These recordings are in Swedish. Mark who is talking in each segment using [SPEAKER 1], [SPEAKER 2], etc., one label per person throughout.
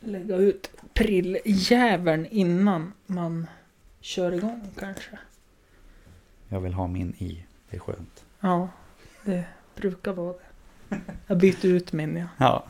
[SPEAKER 1] lägga ut prilljäveln innan man kör igång kanske.
[SPEAKER 2] Jag vill ha min i. Det är skönt.
[SPEAKER 1] Ja, det brukar vara det. Jag byter ut min ja.
[SPEAKER 2] Ja.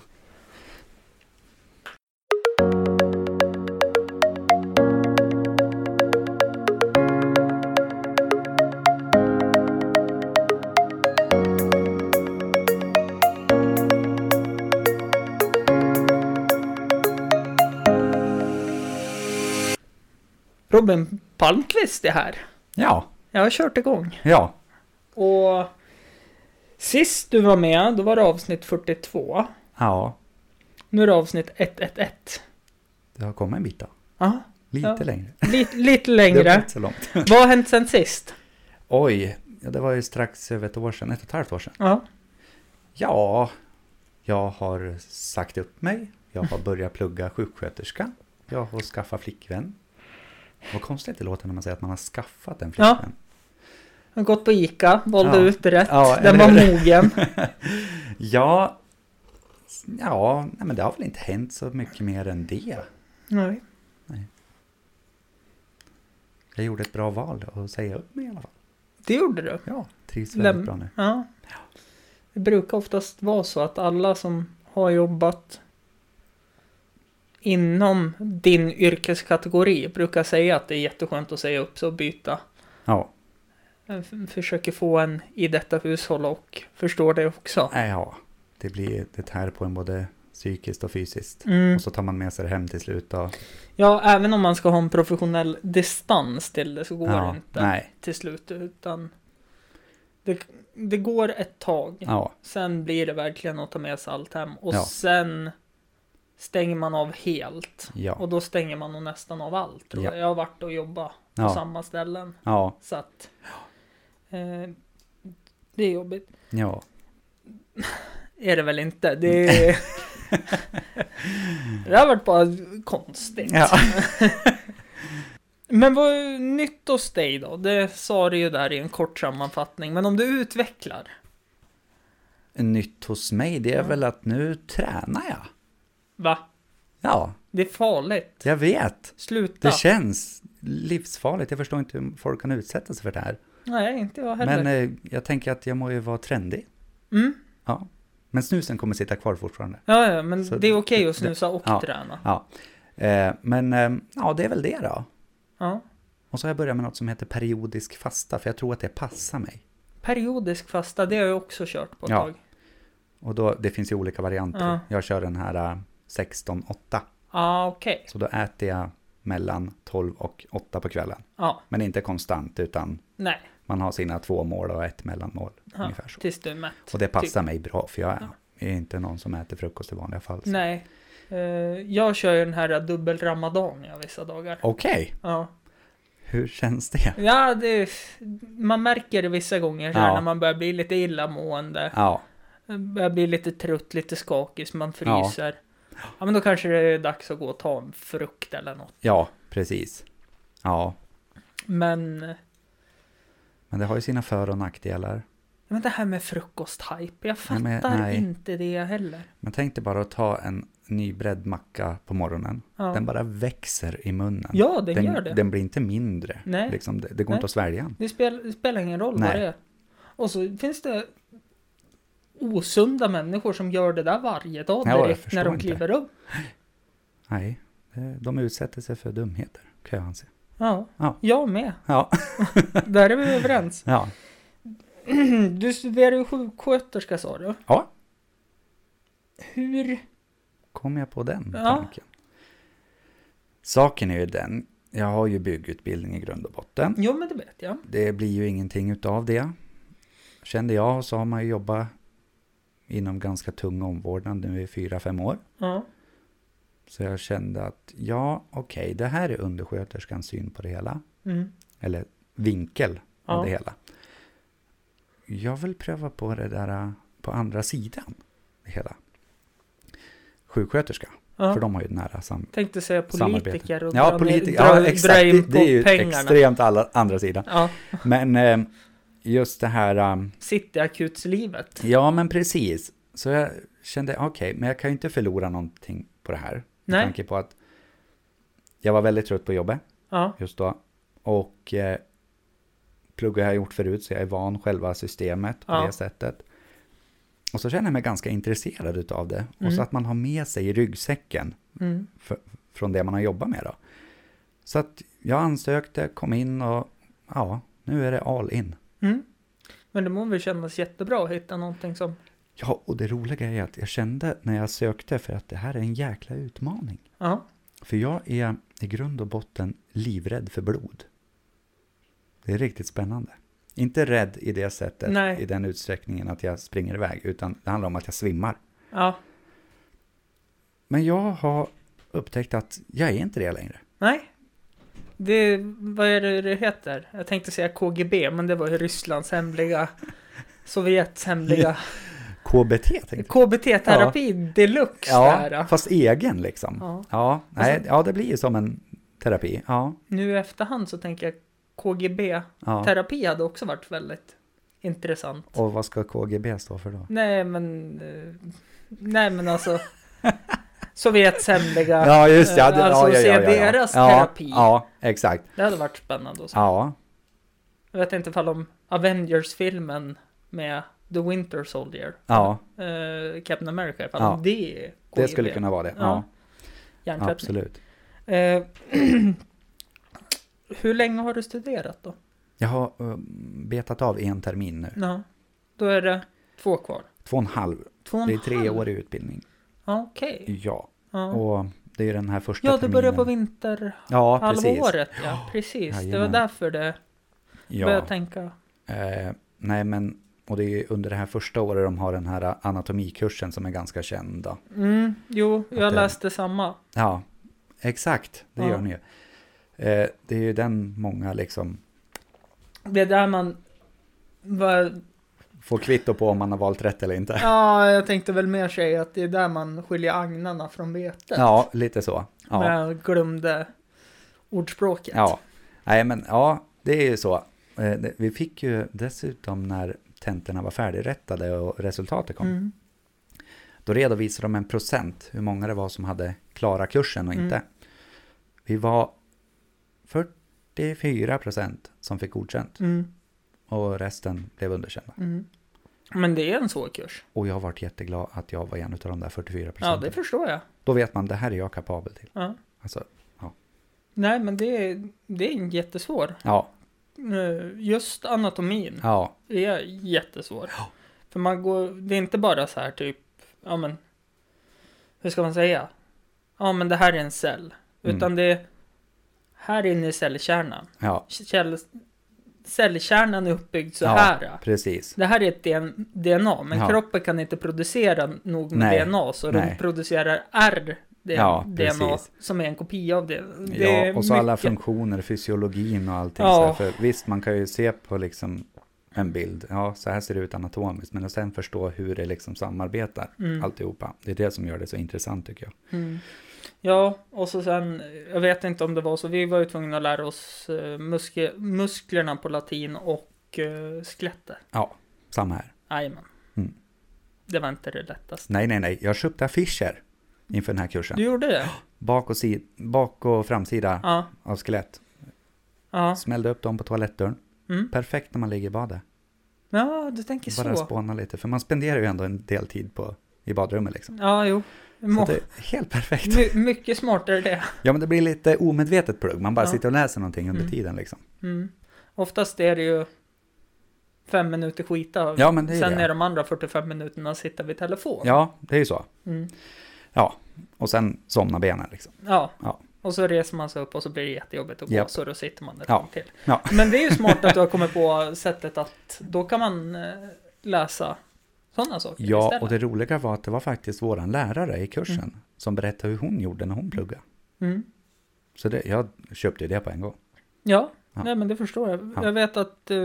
[SPEAKER 1] Robin Palmqvist är här.
[SPEAKER 2] Ja.
[SPEAKER 1] Jag har kört igång.
[SPEAKER 2] Ja.
[SPEAKER 1] Och sist du var med, då var det avsnitt 42.
[SPEAKER 2] Ja.
[SPEAKER 1] Nu är det avsnitt 111.
[SPEAKER 2] Det har kommit en bit då.
[SPEAKER 1] Ja,
[SPEAKER 2] Lite
[SPEAKER 1] Ja.
[SPEAKER 2] längre.
[SPEAKER 1] lite, lite
[SPEAKER 2] Det har
[SPEAKER 1] längre.
[SPEAKER 2] blivit så långt.
[SPEAKER 1] Vad har hänt sen sist?
[SPEAKER 2] Oj. Ja, det var ju strax över ett år sedan. Ett och ett halvt år sedan.
[SPEAKER 1] Ja,
[SPEAKER 2] Ja. Jag har sagt upp mig. Jag har börjat plugga sjuksköterska. Jag har skaffat flickvän. Vad konstigt det låter när man säger att man har skaffat en
[SPEAKER 1] Ja.
[SPEAKER 2] flickvän.
[SPEAKER 1] jag har gått på Ica, valde
[SPEAKER 2] Ja.
[SPEAKER 1] ut rätt.
[SPEAKER 2] Ja,
[SPEAKER 1] Den
[SPEAKER 2] eller
[SPEAKER 1] var
[SPEAKER 2] hur?
[SPEAKER 1] mogen.
[SPEAKER 2] Ja. Ja, nej, men det har väl inte hänt så mycket mer än det.
[SPEAKER 1] Nej.
[SPEAKER 2] Jag gjorde ett bra val att säga upp mig i alla fall.
[SPEAKER 1] Det gjorde du.
[SPEAKER 2] Ja, trivs
[SPEAKER 1] Läm-
[SPEAKER 2] väldigt bra nu.
[SPEAKER 1] Ja. Det brukar oftast vara så att alla som har jobbat inom din yrkeskategori brukar säga att det är jätteskönt att säga upp sig och byta.
[SPEAKER 2] Ja,
[SPEAKER 1] Jag f- försöker få en i detta hushåll och förstår det också.
[SPEAKER 2] nej, ja. Det blir det här på en både psykiskt och fysiskt.
[SPEAKER 1] Mm.
[SPEAKER 2] Och så tar man med sig det hem till slut. Och,
[SPEAKER 1] Ja, även om man ska ha en professionell distans till det så går
[SPEAKER 2] ja,
[SPEAKER 1] det inte
[SPEAKER 2] Nej,
[SPEAKER 1] till slut utan det, det går ett tag.
[SPEAKER 2] ja,
[SPEAKER 1] Sen blir det verkligen att ta med sig allt hem och
[SPEAKER 2] Ja.
[SPEAKER 1] sen stänger man av helt.
[SPEAKER 2] ja,
[SPEAKER 1] Och då stänger man nog nästan av allt. Tror
[SPEAKER 2] Ja.
[SPEAKER 1] jag. jag har varit och jobbat på
[SPEAKER 2] ja,
[SPEAKER 1] samma ställen.
[SPEAKER 2] ja,
[SPEAKER 1] Så att eh, det är jobbigt.
[SPEAKER 2] ja.
[SPEAKER 1] Är det väl inte. Det, är, det har varit bara konstigt.
[SPEAKER 2] ja.
[SPEAKER 1] Men vad är nytt hos dig då? Det sa du ju där i en kort sammanfattning. Men om du utvecklar.
[SPEAKER 2] Nytt hos mig, det är
[SPEAKER 1] Ja.
[SPEAKER 2] väl att nu tränar jag.
[SPEAKER 1] Va?
[SPEAKER 2] Ja,
[SPEAKER 1] Det är farligt.
[SPEAKER 2] jag vet. Det
[SPEAKER 1] Sluta.
[SPEAKER 2] känns livsfarligt. Jag förstår inte hur folk kan utsätta sig för det här.
[SPEAKER 1] Nej, inte jag heller.
[SPEAKER 2] Men eh, jag tänker att jag må ju vara trendig.
[SPEAKER 1] mm.
[SPEAKER 2] Ja. Men snusen kommer sitta kvar fortfarande.
[SPEAKER 1] Ja, ja, men
[SPEAKER 2] Så
[SPEAKER 1] det är okej
[SPEAKER 2] det-
[SPEAKER 1] att snusa och
[SPEAKER 2] ja.
[SPEAKER 1] träna.
[SPEAKER 2] Eh, men eh, ja, det är väl det då.
[SPEAKER 1] Ja.
[SPEAKER 2] Och så har jag börjat med något som heter periodisk fasta, för jag tror att det passar mig.
[SPEAKER 1] Periodisk fasta, det har jag också kört på ett
[SPEAKER 2] Ja.
[SPEAKER 1] tag.
[SPEAKER 2] Och då, det finns ju olika varianter.
[SPEAKER 1] Ja.
[SPEAKER 2] Jag kör den här eh, 16-8.
[SPEAKER 1] Ja, okej.
[SPEAKER 2] Så då äter jag mellan 12 och 8 på kvällen.
[SPEAKER 1] Ja,
[SPEAKER 2] Men inte konstant, utan
[SPEAKER 1] nej.
[SPEAKER 2] man har sina två mål och ett mellanmål.
[SPEAKER 1] Ja, typ.
[SPEAKER 2] Ungefär så.
[SPEAKER 1] Tills du är mätt.
[SPEAKER 2] Och det passar mig bra, för jag är, är inte någon som äter frukost i vanliga fall. så-
[SPEAKER 1] Nej. Eh, jag kör ju den här dubbel-ramadan jag vissa dagar.
[SPEAKER 2] Okej,
[SPEAKER 1] Ja,
[SPEAKER 2] hur känns det?
[SPEAKER 1] ja det, är- man märker det vissa gånger så här
[SPEAKER 2] Ja.
[SPEAKER 1] när man börjar bli lite illamående.
[SPEAKER 2] Ja,
[SPEAKER 1] Börjar bli lite trött, lite skakig, så man fryser. Ja. men då kanske det är dags att gå och ta en frukt eller något.
[SPEAKER 2] ja, precis. Ja,
[SPEAKER 1] Men
[SPEAKER 2] men det har ju sina för och nackdelar.
[SPEAKER 1] Men det här med frukosthype, jag
[SPEAKER 2] Nej,
[SPEAKER 1] fattar
[SPEAKER 2] men- nej.
[SPEAKER 1] inte det heller.
[SPEAKER 2] Men tänk dig bara att ta en nybredd macka på morgonen.
[SPEAKER 1] Ja,
[SPEAKER 2] Den bara växer i munnen.
[SPEAKER 1] ja den, gör det.
[SPEAKER 2] Den blir inte mindre.
[SPEAKER 1] Nej.
[SPEAKER 2] Liksom, det, det går
[SPEAKER 1] Nej.
[SPEAKER 2] inte att svälja.
[SPEAKER 1] Det, spel, det spelar ingen roll
[SPEAKER 2] Nej.
[SPEAKER 1] vad det är. Och så finns det osunda människor som gör det där varje dag
[SPEAKER 2] Ja, jag
[SPEAKER 1] direkt
[SPEAKER 2] förstår
[SPEAKER 1] när de
[SPEAKER 2] inte.
[SPEAKER 1] kliver upp.
[SPEAKER 2] Nej, det- de utsätter sig för dumheter, kan jag anse.
[SPEAKER 1] Ja,
[SPEAKER 2] Ja.
[SPEAKER 1] jag med.
[SPEAKER 2] Ja,
[SPEAKER 1] Där är vi överens.
[SPEAKER 2] ja.
[SPEAKER 1] Du studerar ju sjuksköterska sa du.
[SPEAKER 2] ja
[SPEAKER 1] Hur?
[SPEAKER 2] kom jag på den
[SPEAKER 1] Ja.
[SPEAKER 2] tanken. Saken är ju den, jag har ju byggutbildning i grund och botten.
[SPEAKER 1] Jo, men det vet jag.
[SPEAKER 2] Det blir ju ingenting utav det. Kände jag, så har man ju jobbat inom ganska tung omvårdnad nu i fyra, fem år.
[SPEAKER 1] Ja,
[SPEAKER 2] Så jag kände att, ja, okej, det här är undersköterskans syn på det hela.
[SPEAKER 1] mm.
[SPEAKER 2] Eller vinkel av
[SPEAKER 1] Ja.
[SPEAKER 2] det hela. Jag vill pröva på det där eh, på andra sidan. Det hela. Sjuksköterska, för
[SPEAKER 1] ja.
[SPEAKER 2] de har ju nära sam...
[SPEAKER 1] Tänkte säga
[SPEAKER 2] samarbete.
[SPEAKER 1] politiker och
[SPEAKER 2] Ja,
[SPEAKER 1] dra,
[SPEAKER 2] politiker.
[SPEAKER 1] ner, dra,
[SPEAKER 2] Ja,
[SPEAKER 1] dra
[SPEAKER 2] exakt.
[SPEAKER 1] in
[SPEAKER 2] Det,
[SPEAKER 1] på
[SPEAKER 2] det är ju
[SPEAKER 1] pengarna.
[SPEAKER 2] extremt alla, andra sidan.
[SPEAKER 1] Ja,
[SPEAKER 2] Men eh, just det här... eh,
[SPEAKER 1] cityakutslivet.
[SPEAKER 2] Ja, men precis. Så jag kände, okej, men jag kan ju inte förlora någonting på det här. Med
[SPEAKER 1] Nej.
[SPEAKER 2] tanke på att jag var väldigt trött på jobbet
[SPEAKER 1] Ja.
[SPEAKER 2] just då. Och eh, plugga har jag gjort förut så jag är van själva systemet på
[SPEAKER 1] Ja.
[SPEAKER 2] det sättet. Och så känner jag mig ganska intresserad utav det. Och
[SPEAKER 1] Mm.
[SPEAKER 2] så att man har med sig i ryggsäcken
[SPEAKER 1] Mm.
[SPEAKER 2] f- från det man har jobbat med då. Så att jag ansökte, kom in och ja, nu är det all in.
[SPEAKER 1] Mm. Men det må väl kännas jättebra att hitta någonting som...
[SPEAKER 2] Ja, och det roliga är att jag kände när jag sökte för att det här är en jäkla utmaning.
[SPEAKER 1] Ja.
[SPEAKER 2] För jag är i grund och botten livrädd för blod. Det är riktigt spännande. Inte rädd i det sättet,
[SPEAKER 1] Nej.
[SPEAKER 2] i den utsträckningen att jag springer iväg, utan det handlar om att jag svimmar.
[SPEAKER 1] Ja.
[SPEAKER 2] Men jag har upptäckt att jag är inte det längre.
[SPEAKER 1] Nej. Det, vad är det det heter? Jag tänkte säga KGB, men det var ju Rysslands hemliga... Sovjets hemliga...
[SPEAKER 2] KBT tänkte jag.
[SPEAKER 1] KBT-terapi deluxe där.
[SPEAKER 2] Ja,
[SPEAKER 1] ja.
[SPEAKER 2] fast egen liksom.
[SPEAKER 1] Ja. Alltså-
[SPEAKER 2] Ja, nej, ja det blir ju som en terapi. Ja,
[SPEAKER 1] Nu i efterhand så tänker jag KGB-terapi
[SPEAKER 2] ja.
[SPEAKER 1] hade också varit väldigt intressant.
[SPEAKER 2] Och vad ska KGB stå för då?
[SPEAKER 1] Nej men... eh, Nej men alltså... Sovjets hemliga...
[SPEAKER 2] Ja, just det. ja, det.
[SPEAKER 1] Alltså,
[SPEAKER 2] ja, ja,
[SPEAKER 1] se
[SPEAKER 2] ja, ja, ja.
[SPEAKER 1] deras
[SPEAKER 2] ja,
[SPEAKER 1] terapi.
[SPEAKER 2] Ja, exakt.
[SPEAKER 1] Det hade varit spännande att se.
[SPEAKER 2] Ja,
[SPEAKER 1] Jag vet inte ifall om Avengers-filmen med The Winter Soldier,
[SPEAKER 2] ja,
[SPEAKER 1] eh, Captain America, ifall
[SPEAKER 2] Ja.
[SPEAKER 1] om det är
[SPEAKER 2] det skulle kunna vara det. Ja,
[SPEAKER 1] Ja, Hjärntvättning.
[SPEAKER 2] absolut.
[SPEAKER 1] Eh, hur länge har du studerat då?
[SPEAKER 2] Jag har eh, betat av en termin nu.
[SPEAKER 1] Ja, då är det två kvar.
[SPEAKER 2] Två och en halv.
[SPEAKER 1] Två och en
[SPEAKER 2] Det är tre
[SPEAKER 1] halv.
[SPEAKER 2] år i utbildning.
[SPEAKER 1] Ja, Okej.
[SPEAKER 2] Ja,
[SPEAKER 1] Ja.
[SPEAKER 2] och det är den här första
[SPEAKER 1] ja, du
[SPEAKER 2] terminen.
[SPEAKER 1] börjar på vinterhalvåret.
[SPEAKER 2] Ja, precis.
[SPEAKER 1] Ja, precis. Det var
[SPEAKER 2] Jajamän.
[SPEAKER 1] därför det
[SPEAKER 2] Ja.
[SPEAKER 1] började tänka.
[SPEAKER 2] Eh, nej, men och det är ju under det här första året de har den här anatomikursen som är ganska känd. Då.
[SPEAKER 1] Mm, jo, jag
[SPEAKER 2] det-
[SPEAKER 1] läste samma.
[SPEAKER 2] Ja, exakt. Det
[SPEAKER 1] Ja.
[SPEAKER 2] gör ni ju. Eh, det är ju den många liksom
[SPEAKER 1] Det är där man... Var,
[SPEAKER 2] får kvitto på om man har valt rätt eller inte.
[SPEAKER 1] Ja, jag tänkte väl mer säga att det är där man skiljer agnarna från vetet.
[SPEAKER 2] Ja, lite så. Ja.
[SPEAKER 1] Men jag glömde ordspråket.
[SPEAKER 2] Ja, nej men ja, det är ju så. Eh, det- Vi fick ju dessutom när tentorna var färdigrättade och resultatet kom,
[SPEAKER 1] Mm.
[SPEAKER 2] då redovisade de en procent hur många det var som hade klara kursen och
[SPEAKER 1] Mm.
[SPEAKER 2] inte. Vi var 44 procent som fick godkänt
[SPEAKER 1] Mm.
[SPEAKER 2] och resten blev underkända.
[SPEAKER 1] Mm. Men det är en svår kurs.
[SPEAKER 2] Och jag har varit jätteglad att jag var en av de där 44
[SPEAKER 1] Ja,
[SPEAKER 2] procenten.
[SPEAKER 1] det förstår jag.
[SPEAKER 2] Då vet man, det här är jag kapabel till.
[SPEAKER 1] Ja.
[SPEAKER 2] Alltså,
[SPEAKER 1] Nej, men det är, det är en jättesvår.
[SPEAKER 2] ja,
[SPEAKER 1] Eh, Just anatomin
[SPEAKER 2] ja,
[SPEAKER 1] är jättesvår. För man går, det är inte bara så här typ, ja men, hur ska man säga? Ja, men det här är en cell.
[SPEAKER 2] Mm.
[SPEAKER 1] Utan det är, här inne i cellkärnan.
[SPEAKER 2] ja,
[SPEAKER 1] käll, cellkärnan är uppbyggd så
[SPEAKER 2] Ja.
[SPEAKER 1] här.
[SPEAKER 2] precis.
[SPEAKER 1] Det här är ett DN DNA, men
[SPEAKER 2] Ja.
[SPEAKER 1] kroppen kan inte producera nog med
[SPEAKER 2] Nej.
[SPEAKER 1] DNA, så den
[SPEAKER 2] Nej.
[SPEAKER 1] producerar R
[SPEAKER 2] Ja,
[SPEAKER 1] DNA
[SPEAKER 2] precis.
[SPEAKER 1] som är en kopia av det. det
[SPEAKER 2] Ja,
[SPEAKER 1] är
[SPEAKER 2] och så alla
[SPEAKER 1] mycket.
[SPEAKER 2] funktioner, fysiologin och allting.
[SPEAKER 1] Ja.
[SPEAKER 2] Så här, för visst, man kan ju se på liksom en bild, ja, så här ser det ut anatomiskt, men att sen förstå hur det liksom samarbetar,
[SPEAKER 1] Mm.
[SPEAKER 2] alltihopa. Det är det som gör det så intressant tycker jag.
[SPEAKER 1] Mm. Ja, och så sen, jag vet inte om det var så, vi var ju tvungna att lära oss eh, muske, musklerna på latin och eh, skelettet.
[SPEAKER 2] Samma här.
[SPEAKER 1] Jajamän.
[SPEAKER 2] Mm.
[SPEAKER 1] Det var inte det lättaste.
[SPEAKER 2] Nej, nej, nej, jag köpte affischer inför den här kursen.
[SPEAKER 1] Du gjorde det?
[SPEAKER 2] Bak, och si- bak och framsida
[SPEAKER 1] Ja.
[SPEAKER 2] av skelett.
[SPEAKER 1] Ja.
[SPEAKER 2] Smällde upp dem på toalettdörren.
[SPEAKER 1] Mm.
[SPEAKER 2] Perfekt när man ligger i badet.
[SPEAKER 1] ja, du tänker så.
[SPEAKER 2] Bara spåna lite, för man spenderar ju ändå en del tid på, i badrummet liksom.
[SPEAKER 1] Ja, jo.
[SPEAKER 2] Så
[SPEAKER 1] Må,
[SPEAKER 2] det är helt perfekt.
[SPEAKER 1] my, mycket smartare det.
[SPEAKER 2] Ja, men det blir lite omedvetet plugg. Man bara
[SPEAKER 1] Ja.
[SPEAKER 2] sitter och läser någonting under
[SPEAKER 1] Mm.
[SPEAKER 2] tiden liksom.
[SPEAKER 1] Mm. Oftast är det ju fem minuter skita.
[SPEAKER 2] Ja, men det är
[SPEAKER 1] Sen
[SPEAKER 2] det.
[SPEAKER 1] är de andra 45 minuterna sitta vid telefon.
[SPEAKER 2] Ja, det är ju så.
[SPEAKER 1] Mm.
[SPEAKER 2] Och sen somnar benen liksom.
[SPEAKER 1] Ja.
[SPEAKER 2] Ja.
[SPEAKER 1] Och så reser man sig upp och så blir det jättejobbigt att gå.
[SPEAKER 2] Japp.
[SPEAKER 1] Så då sitter man där
[SPEAKER 2] Ja.
[SPEAKER 1] fram till.
[SPEAKER 2] Ja.
[SPEAKER 1] Men det är ju smart att du har kommit på sättet att då kan man eh, läsa sådana saker
[SPEAKER 2] Ja,
[SPEAKER 1] istället.
[SPEAKER 2] och det roliga var att det var faktiskt våran lärare i kursen
[SPEAKER 1] Mm.
[SPEAKER 2] som berättade hur hon gjorde när hon pluggade.
[SPEAKER 1] Mm.
[SPEAKER 2] Så det, jag köpte ju det på en gång.
[SPEAKER 1] Ja.
[SPEAKER 2] Ja.
[SPEAKER 1] nej men det förstår jag.
[SPEAKER 2] Ja.
[SPEAKER 1] Jag vet att eh,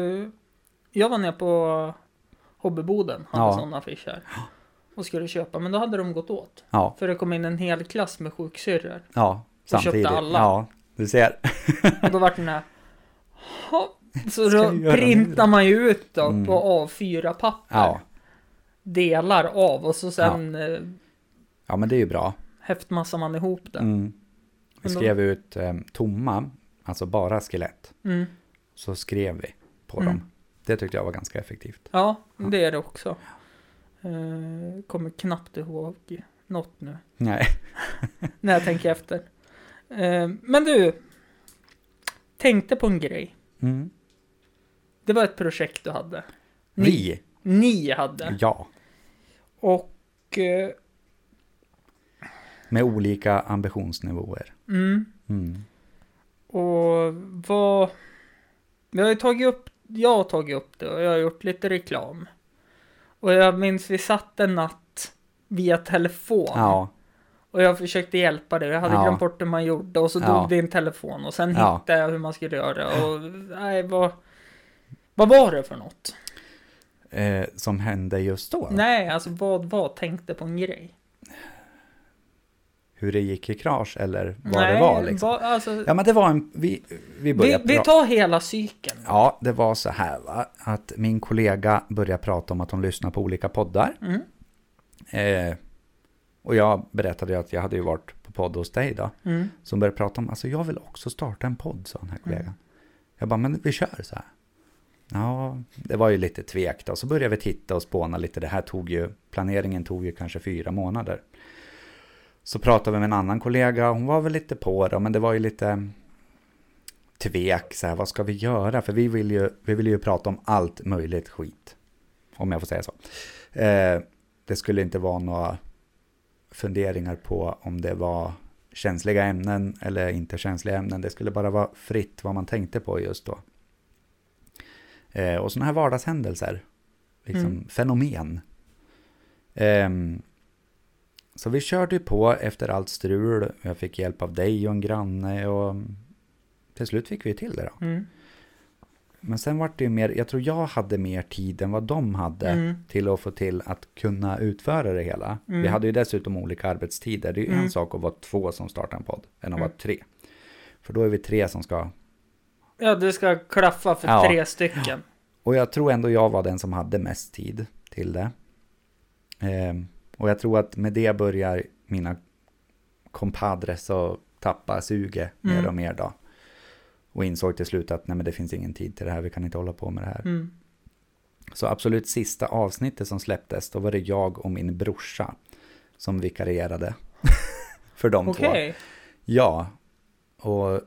[SPEAKER 1] jag var nere på Hobbyboden, hade
[SPEAKER 2] Ja.
[SPEAKER 1] sådana affischer. Och skulle köpa, men då hade de gått åt.
[SPEAKER 2] Ja,
[SPEAKER 1] För det kom in en hel klass med sjuksyrror.
[SPEAKER 2] ja,
[SPEAKER 1] köpte
[SPEAKER 2] samtidigt.
[SPEAKER 1] alla.
[SPEAKER 2] Ja, du ser.
[SPEAKER 1] Och då vart den här... "Ha." Så då
[SPEAKER 2] Ska vi göra nu då?
[SPEAKER 1] printar man ju ut då
[SPEAKER 2] Mm.
[SPEAKER 1] på A4-papper.
[SPEAKER 2] Ja.
[SPEAKER 1] Delar av och så sen... eh,
[SPEAKER 2] ja, men det är ju bra.
[SPEAKER 1] häftmassar man ihop den.
[SPEAKER 2] Mm. Vi
[SPEAKER 1] Men då-
[SPEAKER 2] skrev ut eh, tomma, alltså bara skelett.
[SPEAKER 1] Mm.
[SPEAKER 2] Så skrev vi på
[SPEAKER 1] Mm.
[SPEAKER 2] dem. Det tyckte jag var ganska effektivt.
[SPEAKER 1] Ja, det är det också. Eh, kommer knappt ihåg något nu.
[SPEAKER 2] Nej.
[SPEAKER 1] När jag tänker efter. Eh, men du. Tänkte på en grej.
[SPEAKER 2] Mm.
[SPEAKER 1] Det var ett projekt du hade. Ni,
[SPEAKER 2] Vi?
[SPEAKER 1] ni hade.
[SPEAKER 2] Ja.
[SPEAKER 1] Och... Eh,
[SPEAKER 2] Med olika ambitionsnivåer.
[SPEAKER 1] mm,
[SPEAKER 2] Mm.
[SPEAKER 1] Och vad... Jag har ju tagit upp, jag har tagit upp det och jag har gjort lite reklam. Och jag minns vi satt en natt via telefon.
[SPEAKER 2] Ja.
[SPEAKER 1] Och jag försökte hjälpa dig. Jag hade
[SPEAKER 2] Ja.
[SPEAKER 1] glömt bort hur man gjorde och så
[SPEAKER 2] Ja.
[SPEAKER 1] dog din telefon. Och sen
[SPEAKER 2] Ja.
[SPEAKER 1] hittade jag hur man skulle göra. Och nej, vad... Vad var det för något?
[SPEAKER 2] Eh, som hände just då.
[SPEAKER 1] Nej, alltså vad var tänkte på en grej?
[SPEAKER 2] Hur det gick i krasch eller vad
[SPEAKER 1] nej,
[SPEAKER 2] det var liksom.
[SPEAKER 1] vad- alltså,
[SPEAKER 2] Ja men det var en, vi, vi
[SPEAKER 1] vi,
[SPEAKER 2] började
[SPEAKER 1] vi
[SPEAKER 2] pra-
[SPEAKER 1] tar hela cykeln.
[SPEAKER 2] Ja, det var så här va, att min kollega började prata om att hon lyssnar på olika poddar.
[SPEAKER 1] Mm,
[SPEAKER 2] Eh, och jag berättade ju att jag hade ju varit på podd hos dig då.
[SPEAKER 1] mm,
[SPEAKER 2] Som började prata om, alltså jag vill också starta en podd, sa den här kollegan. Jag bara, men vi kör så här. Ja, det var ju lite tvekt då. Så började vi titta och spåna lite. Det här tog ju, planeringen tog ju kanske fyra månader. Så pratade vi med en annan kollega, hon var väl lite på det, men det var ju lite tvek, så här, vad ska vi göra? För vi vill ju, vi vill ju prata om allt möjligt skit. Om jag får säga så. Eh, det skulle inte vara några funderingar på om det var känsliga ämnen eller inte känsliga ämnen. Det skulle bara vara fritt vad man tänkte på just då. Eh, och sådana här vardagshändelser, liksom
[SPEAKER 1] Mm.
[SPEAKER 2] fenomen. Ehm, så vi körde ju på efter allt strul. Jag fick hjälp av dig och en granne och till slut fick vi ju till det då.
[SPEAKER 1] mm,
[SPEAKER 2] Men sen var det ju mer, jag tror jag hade mer tid än vad de hade
[SPEAKER 1] mm,
[SPEAKER 2] till att få till att kunna utföra det hela.
[SPEAKER 1] Mm.
[SPEAKER 2] Vi hade ju dessutom olika arbetstider. Det är ju
[SPEAKER 1] Mm.
[SPEAKER 2] en sak att vara två som startar en podd, än att
[SPEAKER 1] Mm.
[SPEAKER 2] vara tre. För då är vi tre som ska...
[SPEAKER 1] Ja, det ska klaffa för
[SPEAKER 2] Ja.
[SPEAKER 1] tre stycken.
[SPEAKER 2] Och jag tror ändå jag var den som hade mest tid till det. Ehm, och jag tror att med det börjar mina kompadres att tappa suget mer
[SPEAKER 1] Mm.
[SPEAKER 2] och mer då. Och insåg till slut att nej men det finns ingen tid till det här, vi kan inte hålla på med det här.
[SPEAKER 1] Mm,
[SPEAKER 2] Så absolut sista avsnittet som släpptes, då var det jag och min brorsa som vikarierade för de
[SPEAKER 1] Okej.
[SPEAKER 2] två. Ja, och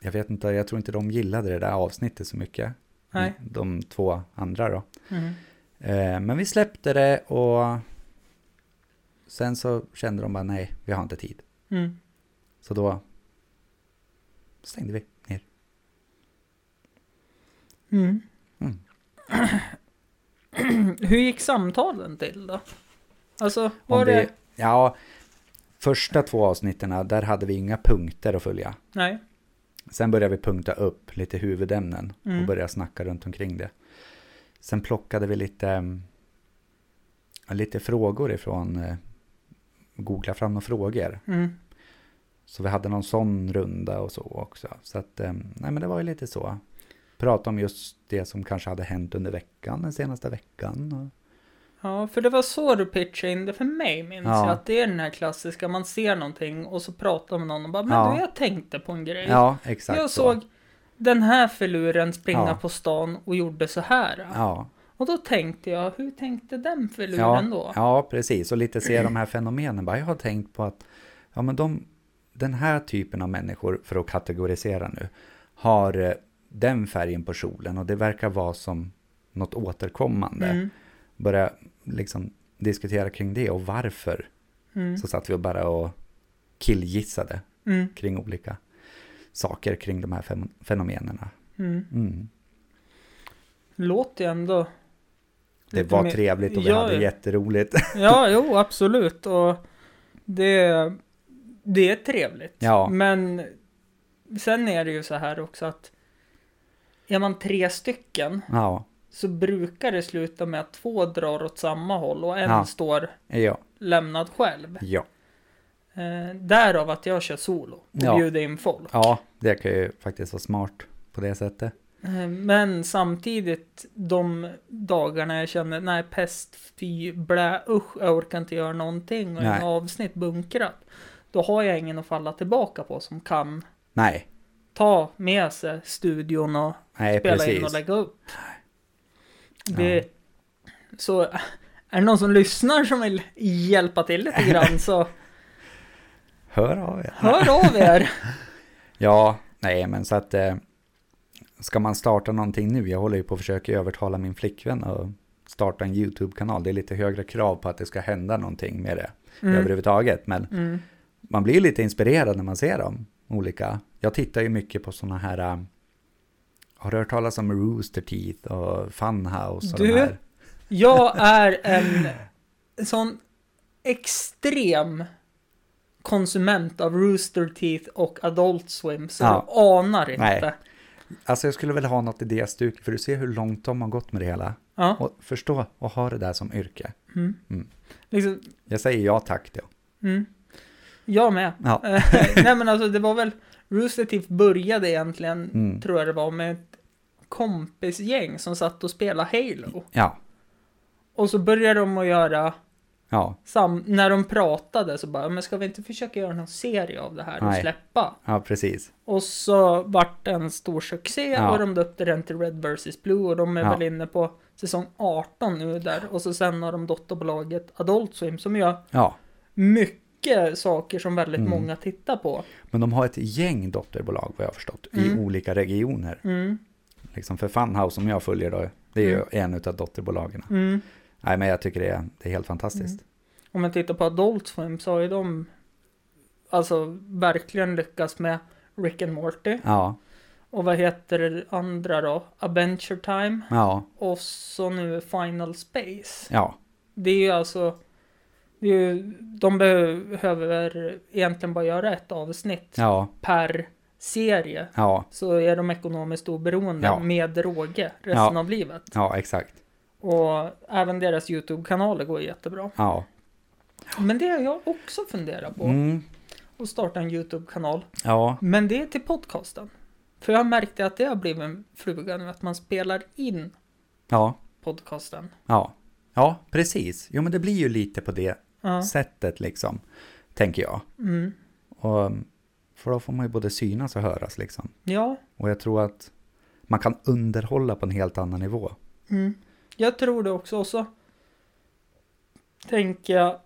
[SPEAKER 2] jag vet inte, jag tror inte de gillade det där avsnittet så mycket.
[SPEAKER 1] Nej.
[SPEAKER 2] De två andra då.
[SPEAKER 1] Mm.
[SPEAKER 2] Eh, Men vi släppte det och sen så kände de bara nej, vi har inte tid.
[SPEAKER 1] Mm.
[SPEAKER 2] Så då stängde vi ner.
[SPEAKER 1] Mm.
[SPEAKER 2] Mm.
[SPEAKER 1] Hur gick samtalen till då? Alltså,
[SPEAKER 2] Om
[SPEAKER 1] var det...
[SPEAKER 2] vi- Ja, första två avsnitten, där hade vi inga punkter att följa.
[SPEAKER 1] Nej.
[SPEAKER 2] Sen börjar vi punkta upp lite huvudämnen
[SPEAKER 1] Mm.
[SPEAKER 2] och börja snacka runt omkring det. Sen plockade vi lite, mm, ja, lite frågor ifrån, eh, googla fram några frågor.
[SPEAKER 1] Mm.
[SPEAKER 2] Så vi hade någon sån runda och så också. Så att, eh, nej men det var ju lite så. Prata om just det som kanske hade hänt under veckan, den senaste veckan. Och,
[SPEAKER 1] Mm. Ja, för det var så du pitchade in det för mig, minns
[SPEAKER 2] Ja.
[SPEAKER 1] jag. Att det är den här klassiska, man ser någonting och så pratar man med någon och bara, men
[SPEAKER 2] Ja.
[SPEAKER 1] du, jag tänkte på en grej.
[SPEAKER 2] ja, exakt
[SPEAKER 1] jag
[SPEAKER 2] så.
[SPEAKER 1] såg den här filuren springa
[SPEAKER 2] Ja.
[SPEAKER 1] på stan och gjorde så här.
[SPEAKER 2] Ja,
[SPEAKER 1] Och då tänkte jag, hur tänkte den filuren då?
[SPEAKER 2] ja, ja, precis. Och lite se de här fenomenen. Bara, jag har tänkt på att ja, men de, den här typen av människor, för att kategorisera nu, har eh, den färgen på kjolen och det verkar vara som något återkommande.
[SPEAKER 1] Mm.
[SPEAKER 2] Börja liksom diskutera kring det och varför.
[SPEAKER 1] Mm.
[SPEAKER 2] Så satt vi och bara och killgissade
[SPEAKER 1] Mm.
[SPEAKER 2] kring olika saker kring de här fem- fenomenerna.
[SPEAKER 1] Mm.
[SPEAKER 2] Mm.
[SPEAKER 1] Låter ju ändå...
[SPEAKER 2] Det
[SPEAKER 1] lite
[SPEAKER 2] var
[SPEAKER 1] mer-
[SPEAKER 2] trevligt och vi
[SPEAKER 1] Ja,
[SPEAKER 2] hade
[SPEAKER 1] ja.
[SPEAKER 2] jätteroligt.
[SPEAKER 1] Ja, jo, absolut. Och det, det är trevligt.
[SPEAKER 2] Ja.
[SPEAKER 1] Men sen är det ju så här också att är man tre stycken
[SPEAKER 2] ja,
[SPEAKER 1] så brukar det sluta med att två drar åt samma håll och en
[SPEAKER 2] Ja.
[SPEAKER 1] står
[SPEAKER 2] ja,
[SPEAKER 1] lämnad själv.
[SPEAKER 2] ja.
[SPEAKER 1] Eh, därav att jag kör solo och
[SPEAKER 2] Ja.
[SPEAKER 1] bjuder in folk.
[SPEAKER 2] Ja, det kan ju faktiskt vara smart på det sättet.
[SPEAKER 1] Eh, Men samtidigt de dagarna jag känner, nej pest, fy, blä, usch, jag orkar inte göra någonting och
[SPEAKER 2] Nej.
[SPEAKER 1] en avsnitt bunkrat. Då har jag ingen att falla tillbaka på som kan
[SPEAKER 2] Nej,
[SPEAKER 1] ta med sig studion och
[SPEAKER 2] nej
[SPEAKER 1] spela
[SPEAKER 2] precis.
[SPEAKER 1] in och lägga upp. Det, Så är det någon som lyssnar som vill hjälpa till lite grann så
[SPEAKER 2] Hör av er.
[SPEAKER 1] hör av er.
[SPEAKER 2] Ja, nej men så att eh, ska man starta någonting nu? Jag håller ju på att försöka övertala min flickvän att starta en YouTube-kanal. Det är lite högre krav på att det ska hända någonting med det
[SPEAKER 1] Mm.
[SPEAKER 2] överhuvudtaget. Men
[SPEAKER 1] Mm.
[SPEAKER 2] man blir ju lite inspirerad när man ser dem. Olika. Jag tittar ju mycket på sådana här, eh, har du hört talas om Rooster Teeth och Funhouse och
[SPEAKER 1] Du?
[SPEAKER 2] de här?
[SPEAKER 1] Jag är en sån extrem konsument av Rooster Teeth och Adult Swim så
[SPEAKER 2] Ja.
[SPEAKER 1] jag anar inte.
[SPEAKER 2] Nej. Alltså jag skulle väl ha något i det stuket, för du ser hur långt de har gått med det hela.
[SPEAKER 1] Ja.
[SPEAKER 2] Och förstå och ha det där som yrke.
[SPEAKER 1] Mm.
[SPEAKER 2] Mm.
[SPEAKER 1] Liksom,
[SPEAKER 2] Jag säger ja tack då.
[SPEAKER 1] mm. Jag med.
[SPEAKER 2] Ja.
[SPEAKER 1] Nej men alltså det var väl Rooster Teeth började egentligen
[SPEAKER 2] Mm.
[SPEAKER 1] tror jag det var med ett kompisgäng som satt och spelade Halo.
[SPEAKER 2] Ja,
[SPEAKER 1] Och så började de att göra
[SPEAKER 2] ja,
[SPEAKER 1] sam- när de pratade så bara, men ska vi inte försöka göra någon serie av det här och
[SPEAKER 2] Nej.
[SPEAKER 1] släppa?
[SPEAKER 2] ja precis.
[SPEAKER 1] Och så vart det en stor succé
[SPEAKER 2] Ja.
[SPEAKER 1] och de döpte den till Red vs Blue och de är
[SPEAKER 2] Ja.
[SPEAKER 1] väl inne på säsong 18 nu där. Och så sen har de dotterbolaget Adult Swim som gör
[SPEAKER 2] Ja.
[SPEAKER 1] mycket saker som väldigt
[SPEAKER 2] Mm.
[SPEAKER 1] många tittar på.
[SPEAKER 2] Men de har ett gäng dotterbolag vad jag har förstått
[SPEAKER 1] Mm.
[SPEAKER 2] i olika regioner.
[SPEAKER 1] Mm,
[SPEAKER 2] Liksom för Funhouse som jag följer då, det är ju en av dotterbolagen.
[SPEAKER 1] mm.
[SPEAKER 2] Nej men jag tycker det är, det är helt fantastiskt.
[SPEAKER 1] Om man tittar på Adult Swim så har ju de alltså verkligen lyckats med Rick and Morty.
[SPEAKER 2] Ja,
[SPEAKER 1] Och vad heter det andra då? Adventure Time.
[SPEAKER 2] ja,
[SPEAKER 1] Och så nu Final Space.
[SPEAKER 2] ja,
[SPEAKER 1] Det är ju alltså... Det är ju, de behöver egentligen bara göra ett avsnitt
[SPEAKER 2] ja,
[SPEAKER 1] per serie.
[SPEAKER 2] ja,
[SPEAKER 1] Så är de ekonomiskt oberoende
[SPEAKER 2] Ja.
[SPEAKER 1] med råge resten
[SPEAKER 2] Ja.
[SPEAKER 1] av livet.
[SPEAKER 2] ja, exakt.
[SPEAKER 1] Och även deras YouTube-kanaler går jättebra.
[SPEAKER 2] Ja,
[SPEAKER 1] Men det har jag också funderat på.
[SPEAKER 2] mm.
[SPEAKER 1] Att starta en YouTube-kanal.
[SPEAKER 2] ja,
[SPEAKER 1] Men det är till podcasten. För jag märkte att det har blivit en fluga nu. Att man spelar in
[SPEAKER 2] ja,
[SPEAKER 1] podcasten.
[SPEAKER 2] ja, ja, precis. Jo men det blir ju lite på det
[SPEAKER 1] Ja.
[SPEAKER 2] sättet liksom, tänker jag.
[SPEAKER 1] Mm.
[SPEAKER 2] Och, för då får man ju både synas och höras liksom.
[SPEAKER 1] Ja.
[SPEAKER 2] Och jag tror att man kan underhålla på en helt annan nivå.
[SPEAKER 1] Mm. Jag tror det också. Och så tänker jag,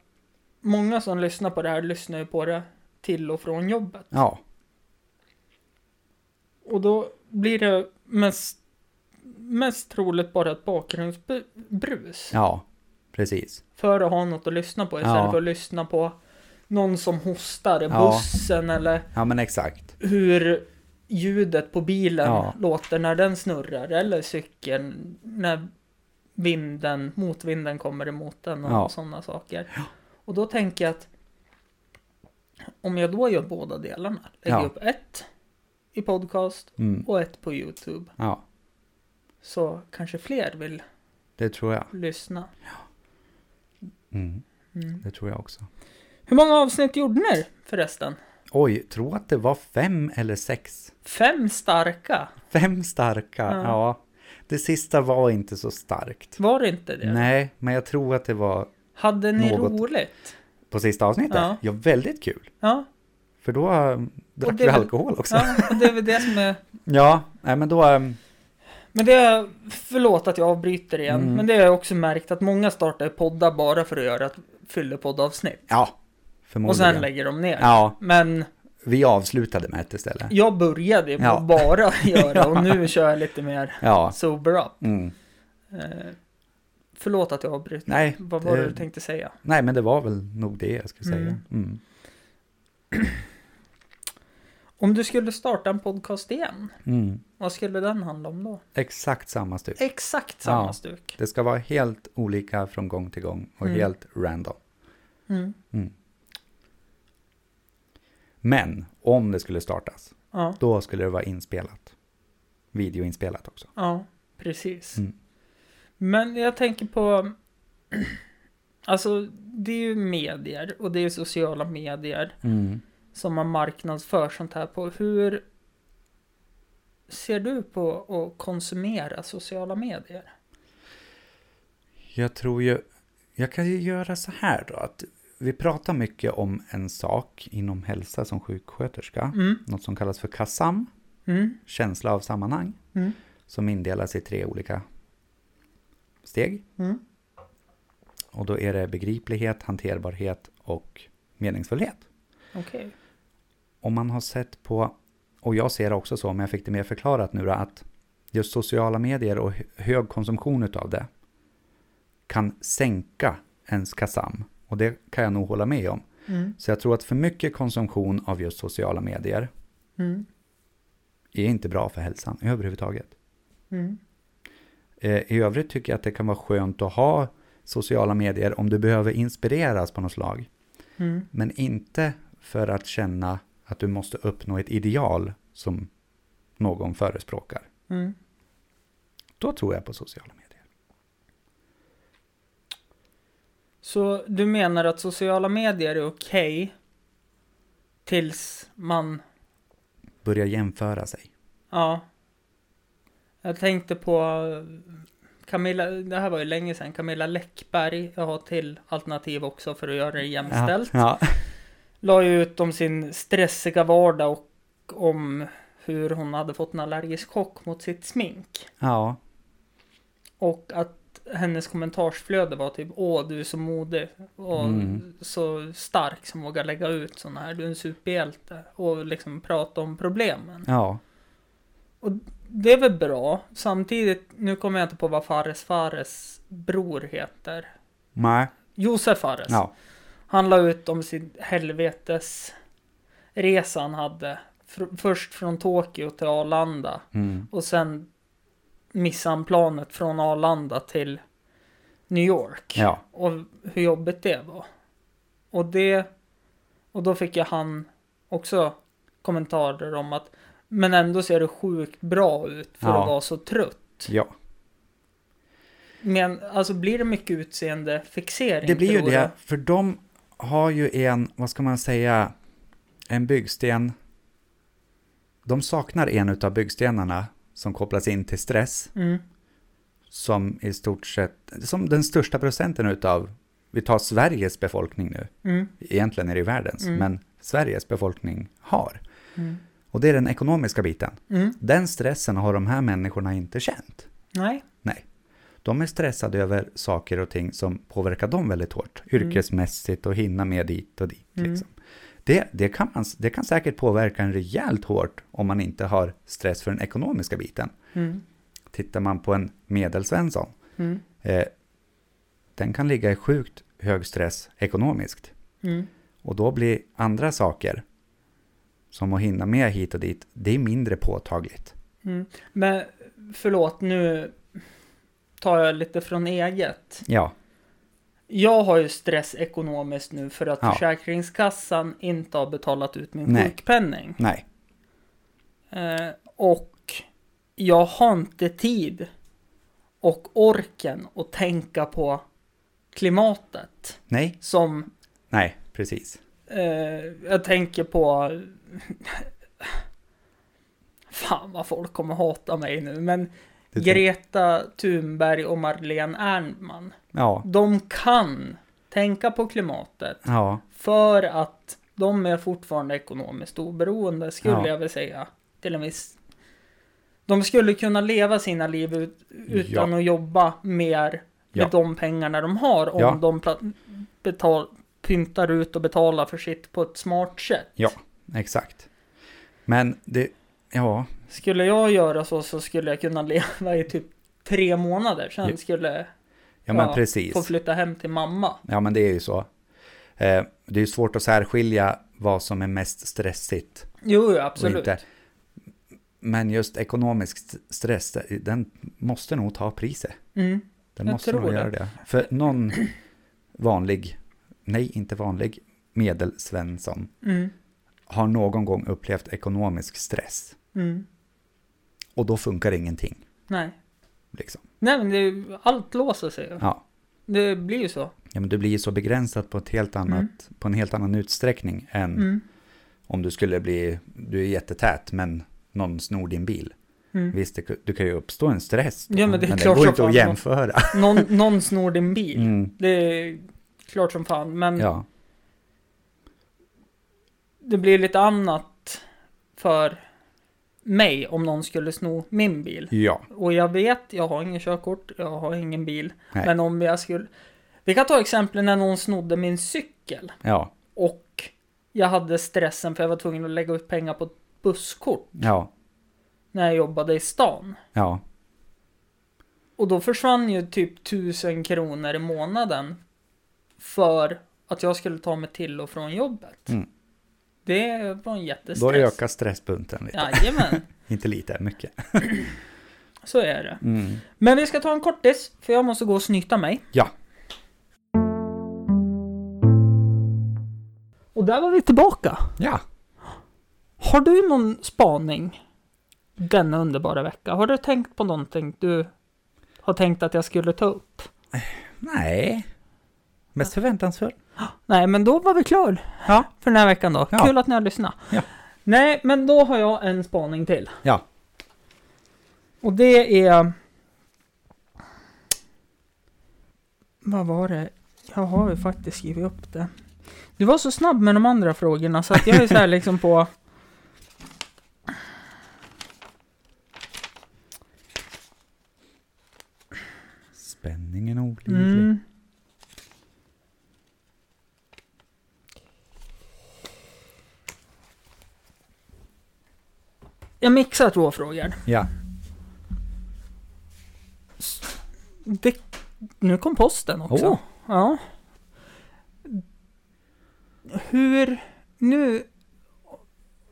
[SPEAKER 1] många som lyssnar på det här lyssnar ju på det till och från jobbet.
[SPEAKER 2] Ja,
[SPEAKER 1] Och då blir det mest, mest troligt bara ett bakgrundsbrus.
[SPEAKER 2] ja, precis.
[SPEAKER 1] För att ha något att lyssna på istället
[SPEAKER 2] Ja.
[SPEAKER 1] för att lyssna på någon som hostar i
[SPEAKER 2] Ja.
[SPEAKER 1] bussen eller
[SPEAKER 2] Ja men exakt.
[SPEAKER 1] hur ljudet på bilen
[SPEAKER 2] Ja.
[SPEAKER 1] låter när den snurrar eller cykeln när vinden, motvinden kommer emot den och
[SPEAKER 2] Ja.
[SPEAKER 1] sådana saker. Och då tänker jag att om jag då gör båda delarna, lägger
[SPEAKER 2] Ja.
[SPEAKER 1] upp ett i podcast
[SPEAKER 2] Mm.
[SPEAKER 1] och ett på YouTube,
[SPEAKER 2] Ja,
[SPEAKER 1] så kanske fler vill
[SPEAKER 2] det tror jag.
[SPEAKER 1] lyssna.
[SPEAKER 2] Mm.
[SPEAKER 1] Mm.
[SPEAKER 2] Det tror jag också.
[SPEAKER 1] Hur många avsnitt gjorde ni förresten?
[SPEAKER 2] Oj, tro att det var fem eller sex.
[SPEAKER 1] Fem starka,
[SPEAKER 2] Fem starka,
[SPEAKER 1] Ja.
[SPEAKER 2] ja. Det sista var inte så starkt.
[SPEAKER 1] var det inte det?
[SPEAKER 2] Nej, men jag tror att det var
[SPEAKER 1] Hade ni
[SPEAKER 2] Något.
[SPEAKER 1] roligt?
[SPEAKER 2] på sista avsnittet.
[SPEAKER 1] Ja.
[SPEAKER 2] Ja, väldigt kul.
[SPEAKER 1] Ja.
[SPEAKER 2] För då eh, drack
[SPEAKER 1] det
[SPEAKER 2] vi
[SPEAKER 1] är väl-
[SPEAKER 2] alkohol också. Ja,
[SPEAKER 1] ja, och det är väl det som är
[SPEAKER 2] nej, men då... eh,
[SPEAKER 1] Men det, förlåt att jag avbryter igen,
[SPEAKER 2] Mm.
[SPEAKER 1] men det har jag också märkt att många startar poddar bara för att göra ett fyllepoddavsnitt.
[SPEAKER 2] Ja,
[SPEAKER 1] Och
[SPEAKER 2] förmodligen.
[SPEAKER 1] sen lägger de ner.
[SPEAKER 2] Ja,
[SPEAKER 1] Men
[SPEAKER 2] vi avslutade med ett istället.
[SPEAKER 1] jag började på
[SPEAKER 2] Ja.
[SPEAKER 1] bara göra och nu kör jag lite mer
[SPEAKER 2] Ja,
[SPEAKER 1] sober up.
[SPEAKER 2] mm.
[SPEAKER 1] Eh, förlåt att jag avbryter.
[SPEAKER 2] Nej,
[SPEAKER 1] Vad var det
[SPEAKER 2] det-
[SPEAKER 1] du tänkte säga?
[SPEAKER 2] nej, men det var väl nog det jag skulle
[SPEAKER 1] Mm.
[SPEAKER 2] säga. Mm.
[SPEAKER 1] Om du skulle starta en podcast igen,
[SPEAKER 2] Mm.
[SPEAKER 1] vad skulle den handla om då?
[SPEAKER 2] Exakt samma stycke.
[SPEAKER 1] Exakt samma
[SPEAKER 2] Ja.
[SPEAKER 1] stuk.
[SPEAKER 2] Det ska vara helt olika från gång till gång och
[SPEAKER 1] Mm.
[SPEAKER 2] helt random.
[SPEAKER 1] Mm.
[SPEAKER 2] Mm. Men om det skulle startas,
[SPEAKER 1] Ja,
[SPEAKER 2] då skulle det vara inspelat. Videoinspelat också.
[SPEAKER 1] ja, precis.
[SPEAKER 2] Mm.
[SPEAKER 1] Men jag tänker på... Alltså, det är ju medier och det är sociala Mm. medier som man marknadsför sånt här på. Hur ser du på att konsumera sociala medier?
[SPEAKER 2] Jag tror ju, jag kan ju göra så här då, att vi pratar mycket om en sak inom hälsa som sjuksköterska,
[SPEAKER 1] Mm,
[SPEAKER 2] något som kallas för KASAM,
[SPEAKER 1] mm,
[SPEAKER 2] känsla av sammanhang,
[SPEAKER 1] mm,
[SPEAKER 2] som indelas i tre olika steg.
[SPEAKER 1] mm.
[SPEAKER 2] Och då är det begriplighet, hanterbarhet och meningsfullhet.
[SPEAKER 1] Okej.
[SPEAKER 2] om man har sett på, och jag ser det också så, men jag fick det mer förklarat nu då, att just sociala medier och hö- hög konsumtion utav det kan sänka ens KASAM. Och det kan jag nog hålla med om.
[SPEAKER 1] Mm,
[SPEAKER 2] Så jag tror att för mycket konsumtion av just sociala medier
[SPEAKER 1] mm,
[SPEAKER 2] är inte bra för hälsan överhuvudtaget.
[SPEAKER 1] mm,
[SPEAKER 2] Eh, I övrigt tycker jag att det kan vara skönt att ha sociala medier om du behöver inspireras på något slag.
[SPEAKER 1] mm,
[SPEAKER 2] Men inte för att känna att du måste uppnå ett ideal som någon förespråkar.
[SPEAKER 1] mm.
[SPEAKER 2] Då tror jag på sociala medier.
[SPEAKER 1] Så du menar att sociala medier är okej tills man
[SPEAKER 2] Börja jämföra sig.
[SPEAKER 1] Ja. Jag tänkte på eh, Camilla, det här var ju länge sedan, Camilla Läckberg, jag har till alternativ också för att göra det jämställt.
[SPEAKER 2] Ja, ja.
[SPEAKER 1] La ju ut om sin stressiga vardag och om hur hon hade fått en allergisk chock mot sitt smink.
[SPEAKER 2] ja.
[SPEAKER 1] Och att hennes kommentarsflöde var typ Åh, du är så modig och
[SPEAKER 2] Mm.
[SPEAKER 1] så stark som vågar lägga ut sådana här, du är en superhjälte. Och liksom prata om problemen.
[SPEAKER 2] ja.
[SPEAKER 1] Det är väl bra. Samtidigt, nu kommer jag inte på vad Fares Fares bror heter.
[SPEAKER 2] Nej.
[SPEAKER 1] Josef Fares.
[SPEAKER 2] Ja.
[SPEAKER 1] Han la ut om sin helvetes resa han hade. Fr- först från Tokyo till Arlanda.
[SPEAKER 2] Mm.
[SPEAKER 1] Och sen missade han planet från Arlanda till New York.
[SPEAKER 2] Ja.
[SPEAKER 1] Och hur jobbigt det var. Och det... Och då fick jag han också kommentarer om att Men ändå ser det sjukt bra ut för
[SPEAKER 2] Ja.
[SPEAKER 1] att vara så trött.
[SPEAKER 2] ja.
[SPEAKER 1] Men alltså blir det mycket utseende fixering?
[SPEAKER 2] Det blir ju
[SPEAKER 1] tror
[SPEAKER 2] det, för de har ju en, vad ska man säga, en byggsten. De saknar en utav byggstenarna som kopplas in till stress,
[SPEAKER 1] jag. Mm.
[SPEAKER 2] som i stort sett, som den största procenten utav, vi tar Sveriges befolkning nu,
[SPEAKER 1] Mm.
[SPEAKER 2] egentligen är det ju världens,
[SPEAKER 1] Mm.
[SPEAKER 2] men Sveriges befolkning har.
[SPEAKER 1] Mm.
[SPEAKER 2] Och det är den ekonomiska biten.
[SPEAKER 1] Mm.
[SPEAKER 2] Den stressen har de här människorna inte känt.
[SPEAKER 1] Nej.
[SPEAKER 2] Nej. De är stressade över saker och ting som påverkar dem väldigt hårt. Yrkesmässigt och hinna med dit och dit.
[SPEAKER 1] Mm.
[SPEAKER 2] Liksom. Det, det, kan man, det kan säkert påverka en rejält hårt om man inte har stress för den ekonomiska biten.
[SPEAKER 1] Mm.
[SPEAKER 2] Tittar man på en medelsvensson,
[SPEAKER 1] Mm.
[SPEAKER 2] eh, den kan ligga i sjukt hög stress ekonomiskt.
[SPEAKER 1] Mm.
[SPEAKER 2] Och då blir andra saker, som att hinna med hit och dit, det är mindre påtagligt.
[SPEAKER 1] Mm. Men förlåt, nu tar jag lite från eget.
[SPEAKER 2] Ja,
[SPEAKER 1] Jag har ju stress ekonomiskt nu för att
[SPEAKER 2] Ja.
[SPEAKER 1] Försäkringskassan inte har betalat ut min
[SPEAKER 2] Nej.
[SPEAKER 1] sjukpenning.
[SPEAKER 2] nej,
[SPEAKER 1] Eh, och jag har inte tid och orken att tänka på klimatet.
[SPEAKER 2] nej,
[SPEAKER 1] Som
[SPEAKER 2] nej, precis.
[SPEAKER 1] eh, jag tänker på... Fan vad folk kommer hata mig nu, men
[SPEAKER 2] Det-
[SPEAKER 1] Greta Thunberg och Madeleine Ernman.
[SPEAKER 2] Ja,
[SPEAKER 1] De kan tänka på klimatet.
[SPEAKER 2] ja,
[SPEAKER 1] För att de är fortfarande ekonomiskt oberoende skulle
[SPEAKER 2] Ja.
[SPEAKER 1] jag vilja säga. Till en viss... De skulle kunna leva sina liv ut, utan
[SPEAKER 2] Ja.
[SPEAKER 1] att jobba mer med
[SPEAKER 2] Ja.
[SPEAKER 1] de pengarna de har. Om
[SPEAKER 2] Ja.
[SPEAKER 1] de pla- betal, pyntar ut och betalar för sitt på ett smart sätt.
[SPEAKER 2] ja, exakt. Men det, ja,
[SPEAKER 1] Skulle jag göra så så skulle jag kunna leva i typ tre månader. Sen
[SPEAKER 2] Ja.
[SPEAKER 1] skulle
[SPEAKER 2] ja men
[SPEAKER 1] Ja, jag få
[SPEAKER 2] precis.
[SPEAKER 1] flytta hem till mamma.
[SPEAKER 2] Ja, men det är ju så. Eh, det är ju svårt att särskilja vad som är mest stressigt
[SPEAKER 1] Jo, jo,
[SPEAKER 2] och
[SPEAKER 1] absolut.
[SPEAKER 2] inte. Men just ekonomisk st- stress, den måste nog ta priset.
[SPEAKER 1] Mm.
[SPEAKER 2] Den
[SPEAKER 1] Jag
[SPEAKER 2] måste
[SPEAKER 1] tror
[SPEAKER 2] nog
[SPEAKER 1] det.
[SPEAKER 2] göra det. För någon vanlig, nej inte vanlig, medelsvensson
[SPEAKER 1] Mm.
[SPEAKER 2] har någon gång upplevt ekonomisk stress.
[SPEAKER 1] Mm.
[SPEAKER 2] Och då funkar ingenting.
[SPEAKER 1] Nej.
[SPEAKER 2] Liksom.
[SPEAKER 1] Nej, men det, är ju- allt låser sig. ju.
[SPEAKER 2] Ja.
[SPEAKER 1] Det blir ju så.
[SPEAKER 2] Ja, men du blir ju så begränsad på, ett helt annat,
[SPEAKER 1] Mm.
[SPEAKER 2] på en helt annan utsträckning än
[SPEAKER 1] Mm.
[SPEAKER 2] om du skulle bli, du är jättetät men någon snor din bil.
[SPEAKER 1] Mm.
[SPEAKER 2] Visst, det, du kan ju uppstå en stress då,
[SPEAKER 1] Ja, men det är
[SPEAKER 2] men
[SPEAKER 1] klart
[SPEAKER 2] det går
[SPEAKER 1] som
[SPEAKER 2] inte
[SPEAKER 1] fan.
[SPEAKER 2] att jämföra.
[SPEAKER 1] Någon, någon snor din bil.
[SPEAKER 2] Mm,
[SPEAKER 1] Det är klart som fan, men
[SPEAKER 2] ja,
[SPEAKER 1] det blir lite annat för mig om någon skulle sno min bil.
[SPEAKER 2] ja,
[SPEAKER 1] Och jag vet, jag har ingen körkort, jag har ingen bil.
[SPEAKER 2] Nej.
[SPEAKER 1] Men om jag skulle... Vi kan ta exempel när någon snodde min cykel.
[SPEAKER 2] ja,
[SPEAKER 1] Och jag hade stressen för jag var tvungen att lägga ut pengar på ett busskort
[SPEAKER 2] ja,
[SPEAKER 1] när jag jobbade i stan.
[SPEAKER 2] ja,
[SPEAKER 1] Och då försvann ju typ tusen kronor i månaden för att jag skulle ta mig till och från jobbet.
[SPEAKER 2] Mm.
[SPEAKER 1] Det var en jättestress.
[SPEAKER 2] då ökar stresspunkten lite.
[SPEAKER 1] Jajamän,
[SPEAKER 2] Inte lite, mycket.
[SPEAKER 1] så är det.
[SPEAKER 2] Mm.
[SPEAKER 1] Men vi ska ta en kortis, för jag måste gå och snyta mig.
[SPEAKER 2] Ja,
[SPEAKER 1] Och där var vi tillbaka.
[SPEAKER 2] ja.
[SPEAKER 1] Har du någon spaning denna underbara vecka? Har du tänkt på någonting du har tänkt att jag skulle ta upp?
[SPEAKER 2] Nej. Mest förväntansfull.
[SPEAKER 1] Nej, men då var vi klar
[SPEAKER 2] Ja.
[SPEAKER 1] för den här veckan då.
[SPEAKER 2] Ja.
[SPEAKER 1] Kul att ni har lyssnat.
[SPEAKER 2] Ja.
[SPEAKER 1] Nej, men då har jag en spaning till.
[SPEAKER 2] Ja.
[SPEAKER 1] Och det är... Vad var det? Jag har ju faktiskt skrivit upp det. Du var så snabb med de andra frågorna så att jag är så här liksom på...
[SPEAKER 2] Spänningen olidlig.
[SPEAKER 1] Mm. Jag mixar två frågor.
[SPEAKER 2] Ja.
[SPEAKER 1] Det, nu kom posten också.
[SPEAKER 2] Åh.
[SPEAKER 1] Ja. Hur... Nu...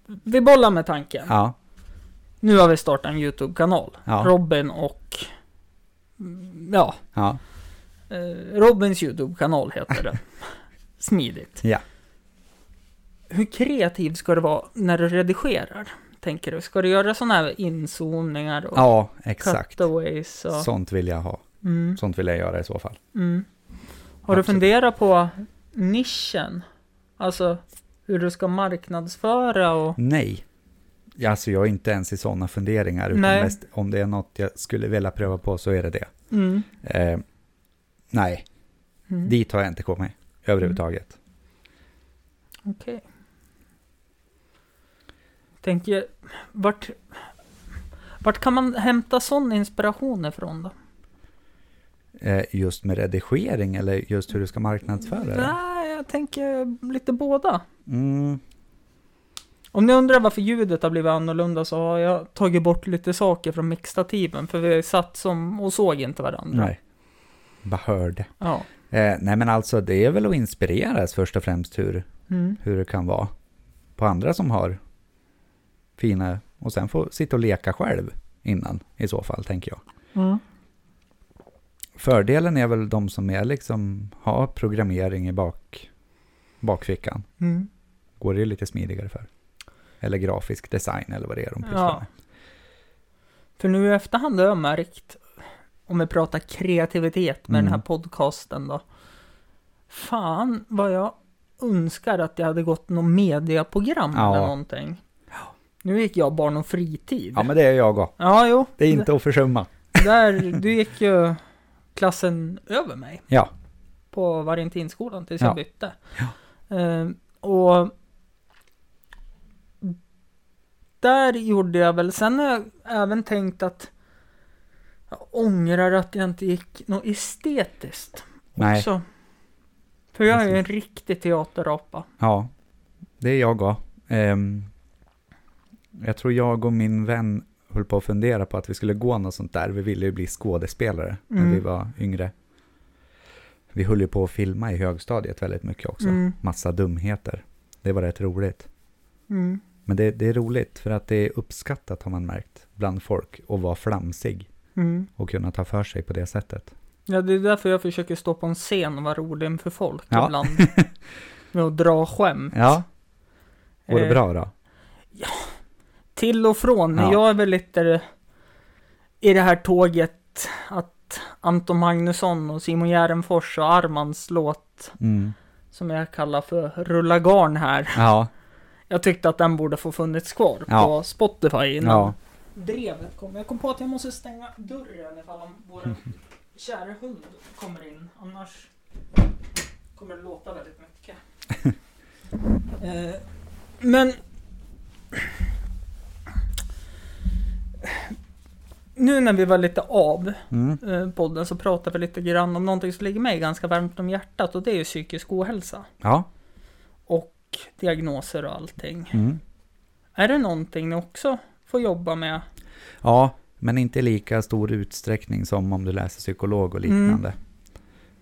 [SPEAKER 1] Vi bollar med tanken.
[SPEAKER 2] Ja.
[SPEAKER 1] Nu har vi startat en YouTube-kanal.
[SPEAKER 2] Ja.
[SPEAKER 1] Robin och... mm, Ja,
[SPEAKER 2] Ja.
[SPEAKER 1] eh, Robins YouTube-kanal heter den. Smidigt.
[SPEAKER 2] Ja.
[SPEAKER 1] Hur kreativ ska du vara när du redigerar? Tänker du? Ska du göra sådana här inzoomningar och
[SPEAKER 2] Ja, exakt.
[SPEAKER 1] cutaways? Och,
[SPEAKER 2] Sånt vill jag ha.
[SPEAKER 1] Mm,
[SPEAKER 2] Sånt vill jag göra i så fall.
[SPEAKER 1] mm. Har du
[SPEAKER 2] Absolut.
[SPEAKER 1] funderat på nischen? Alltså hur du ska marknadsföra och...
[SPEAKER 2] Nej. Ja, Alltså jag är inte ens i sådana funderingar. Utan
[SPEAKER 1] Nej.
[SPEAKER 2] mest, om det är något jag skulle vilja pröva på så är det det.
[SPEAKER 1] Mm.
[SPEAKER 2] Eh, nej,
[SPEAKER 1] Mm.
[SPEAKER 2] dit har jag inte kommit överhuvudtaget.
[SPEAKER 1] Okej. Tänker, vart, vart kan man hämta sån inspiration ifrån då? Mm.
[SPEAKER 2] Eh, just med redigering eller just hur du ska marknadsföra det?
[SPEAKER 1] Nej, jag tänker lite båda.
[SPEAKER 2] Mm,
[SPEAKER 1] Om ni undrar varför ljudet har blivit annorlunda så har jag tagit bort lite saker från mixtativen för vi satt som och såg inte varandra.
[SPEAKER 2] nej, bara hörde.
[SPEAKER 1] Ja.
[SPEAKER 2] Eh, nej men alltså det är väl att inspireras först och främst hur,
[SPEAKER 1] Mm.
[SPEAKER 2] hur det kan vara på andra som har fina och sen få sitta och leka själv innan i så fall tänker jag.
[SPEAKER 1] Mm.
[SPEAKER 2] Fördelen är väl de som är liksom har programmering i bak, bakfickan.
[SPEAKER 1] Mm.
[SPEAKER 2] Går det ju lite smidigare för. Eller grafisk design eller vad det är de pysslar
[SPEAKER 1] Ja.
[SPEAKER 2] med.
[SPEAKER 1] För nu i efterhand har jag märkt, om vi pratar kreativitet med
[SPEAKER 2] Mm.
[SPEAKER 1] den här podcasten då. Fan vad jag önskar att jag hade gått något mediaprogram
[SPEAKER 2] Ja.
[SPEAKER 1] eller någonting. Nu gick jag barn och fritid.
[SPEAKER 2] Ja men det är jag också.
[SPEAKER 1] Ja, jo.
[SPEAKER 2] Det är inte att försumma.
[SPEAKER 1] Där, du gick ju klassen över mig.
[SPEAKER 2] Ja.
[SPEAKER 1] På Variantinskolan tills
[SPEAKER 2] Ja.
[SPEAKER 1] jag bytte. Eh, och där gjorde jag väl, sen har jag även tänkt att jag ångrar att jag inte gick något estetiskt
[SPEAKER 2] Nej.
[SPEAKER 1] också. För jag är ju en riktig teaterapa.
[SPEAKER 2] Ja, det är jag också. Ehm, jag tror jag och min vän höll på att fundera på att vi skulle gå något sånt där. Vi ville ju bli skådespelare när
[SPEAKER 1] Mm.
[SPEAKER 2] vi var yngre. Vi höll ju på att filma i högstadiet väldigt mycket också.
[SPEAKER 1] Mm.
[SPEAKER 2] Massa dumheter. Det var rätt roligt.
[SPEAKER 1] Mm.
[SPEAKER 2] Men det, det är roligt för att det är uppskattat har man märkt bland folk att vara flamsig
[SPEAKER 1] Mm.
[SPEAKER 2] och kunna ta för sig på det sättet.
[SPEAKER 1] Ja, det är därför jag försöker stå på en scen och vara rolig inför folk
[SPEAKER 2] Ja.
[SPEAKER 1] ibland. Med att dra skämt.
[SPEAKER 2] Ja, går det
[SPEAKER 1] Eh,
[SPEAKER 2] bra då?
[SPEAKER 1] till och från. men
[SPEAKER 2] Ja.
[SPEAKER 1] Jag är väl lite i det här tåget att Anton Magnusson och Simon Järnfors och Armans låt
[SPEAKER 2] Mm.
[SPEAKER 1] som jag kallar för Rulla garn här.
[SPEAKER 2] Ja,
[SPEAKER 1] Jag tyckte att den borde få funnits kvar
[SPEAKER 2] Ja.
[SPEAKER 1] på Spotify innan.
[SPEAKER 2] ja,
[SPEAKER 1] drevet kommer. Jag kom på att jag måste stänga dörren ifall om vår kära hund kommer in. Annars kommer det låta väldigt mycket. eh, men... Nu när vi var lite av
[SPEAKER 2] Mm.
[SPEAKER 1] eh, podden så pratade vi lite grann om någonting som ligger mig ganska varmt om hjärtat och det är ju psykisk ohälsa.
[SPEAKER 2] Ja.
[SPEAKER 1] Och diagnoser och allting.
[SPEAKER 2] Mm.
[SPEAKER 1] Är det någonting ni också får jobba med?
[SPEAKER 2] Ja, men inte i lika stor utsträckning som om du läser psykolog och
[SPEAKER 1] Mm.
[SPEAKER 2] liknande.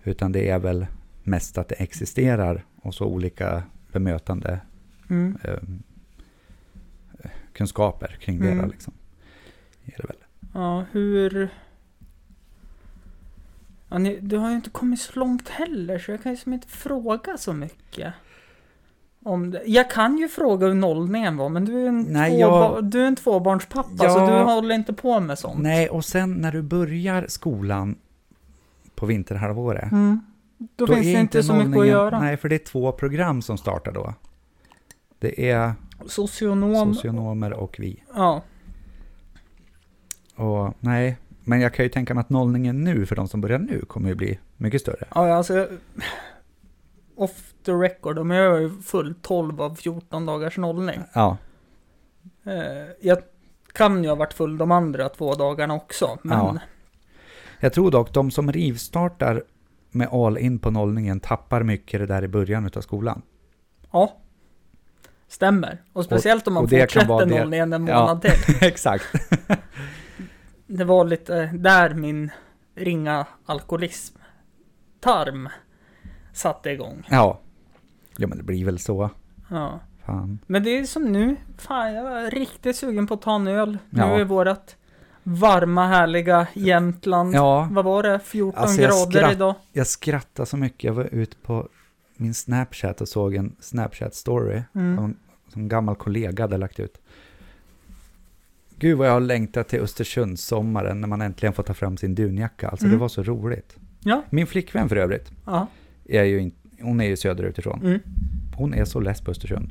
[SPEAKER 2] Utan det är väl mest att det existerar och så olika bemötande
[SPEAKER 1] Mm.
[SPEAKER 2] eh, kunskaper kring det.
[SPEAKER 1] Mm.
[SPEAKER 2] där, Liksom. Är det väl.
[SPEAKER 1] Ja, hur... Ja, ni, du har ju inte kommit så långt heller, så jag kan ju som inte fråga så mycket. Om det. Jag kan ju fråga hur nollningen var, men du är en,
[SPEAKER 2] Nej,
[SPEAKER 1] tvåba-
[SPEAKER 2] jag-
[SPEAKER 1] du är en tvåbarnspappa, så
[SPEAKER 2] Ja.
[SPEAKER 1] du håller inte på med sånt.
[SPEAKER 2] Nej, och sen när du börjar skolan på vinterhalvåret.
[SPEAKER 1] Mm. Då, finns
[SPEAKER 2] är
[SPEAKER 1] det inte så mycket att
[SPEAKER 2] nollningen-
[SPEAKER 1] göra.
[SPEAKER 2] Nej, för det är två program som startar då. Det är
[SPEAKER 1] Socionom.
[SPEAKER 2] socionomer och vi.
[SPEAKER 1] Ja.
[SPEAKER 2] Och nej, men jag kan ju tänka mig att nollningen nu för de som börjar nu kommer ju bli mycket större.
[SPEAKER 1] ja, alltså... jag- Off the record, men jag är ju full 12 av 14 dagars nollning.
[SPEAKER 2] Ja,
[SPEAKER 1] Eh, jag kan ju ha varit full de andra två dagarna också, men...
[SPEAKER 2] Ja. jag tror dock de som rivstartar med all in på nollningen tappar mycket det där i början av skolan.
[SPEAKER 1] Ja. Stämmer. Och speciellt om man
[SPEAKER 2] och det kan vara
[SPEAKER 1] fortsätter
[SPEAKER 2] det-
[SPEAKER 1] noll igen en
[SPEAKER 2] Ja.
[SPEAKER 1] månad till.
[SPEAKER 2] Exakt.
[SPEAKER 1] Det var lite eh, där min ringa alkoholism tarm satte igång.
[SPEAKER 2] Ja. ja, men det blir väl så.
[SPEAKER 1] Ja.
[SPEAKER 2] Fan.
[SPEAKER 1] Men det är som nu. Fan, jag är riktigt sugen på att ta en öl.
[SPEAKER 2] Ja.
[SPEAKER 1] Nu är vårat varma, härliga Jämtland.
[SPEAKER 2] Ja,
[SPEAKER 1] Vad var det? 14
[SPEAKER 2] Alltså, jag
[SPEAKER 1] grader
[SPEAKER 2] skratt-
[SPEAKER 1] idag.
[SPEAKER 2] jag skrattade så mycket. Jag var ute på min Snapchat och såg en Snapchat-story
[SPEAKER 1] Mm.
[SPEAKER 2] som, som en gammal kollega hade lagt ut. Gud vad jag har längtat till Östersundssommaren när man äntligen får ta fram sin dunjacka. Alltså det
[SPEAKER 1] Mm.
[SPEAKER 2] var så roligt.
[SPEAKER 1] Ja.
[SPEAKER 2] Min flickvän för övrigt,
[SPEAKER 1] Ja.
[SPEAKER 2] är ju in, hon är ju söderut ifrån.
[SPEAKER 1] Mm.
[SPEAKER 2] Hon är så less på Östersund.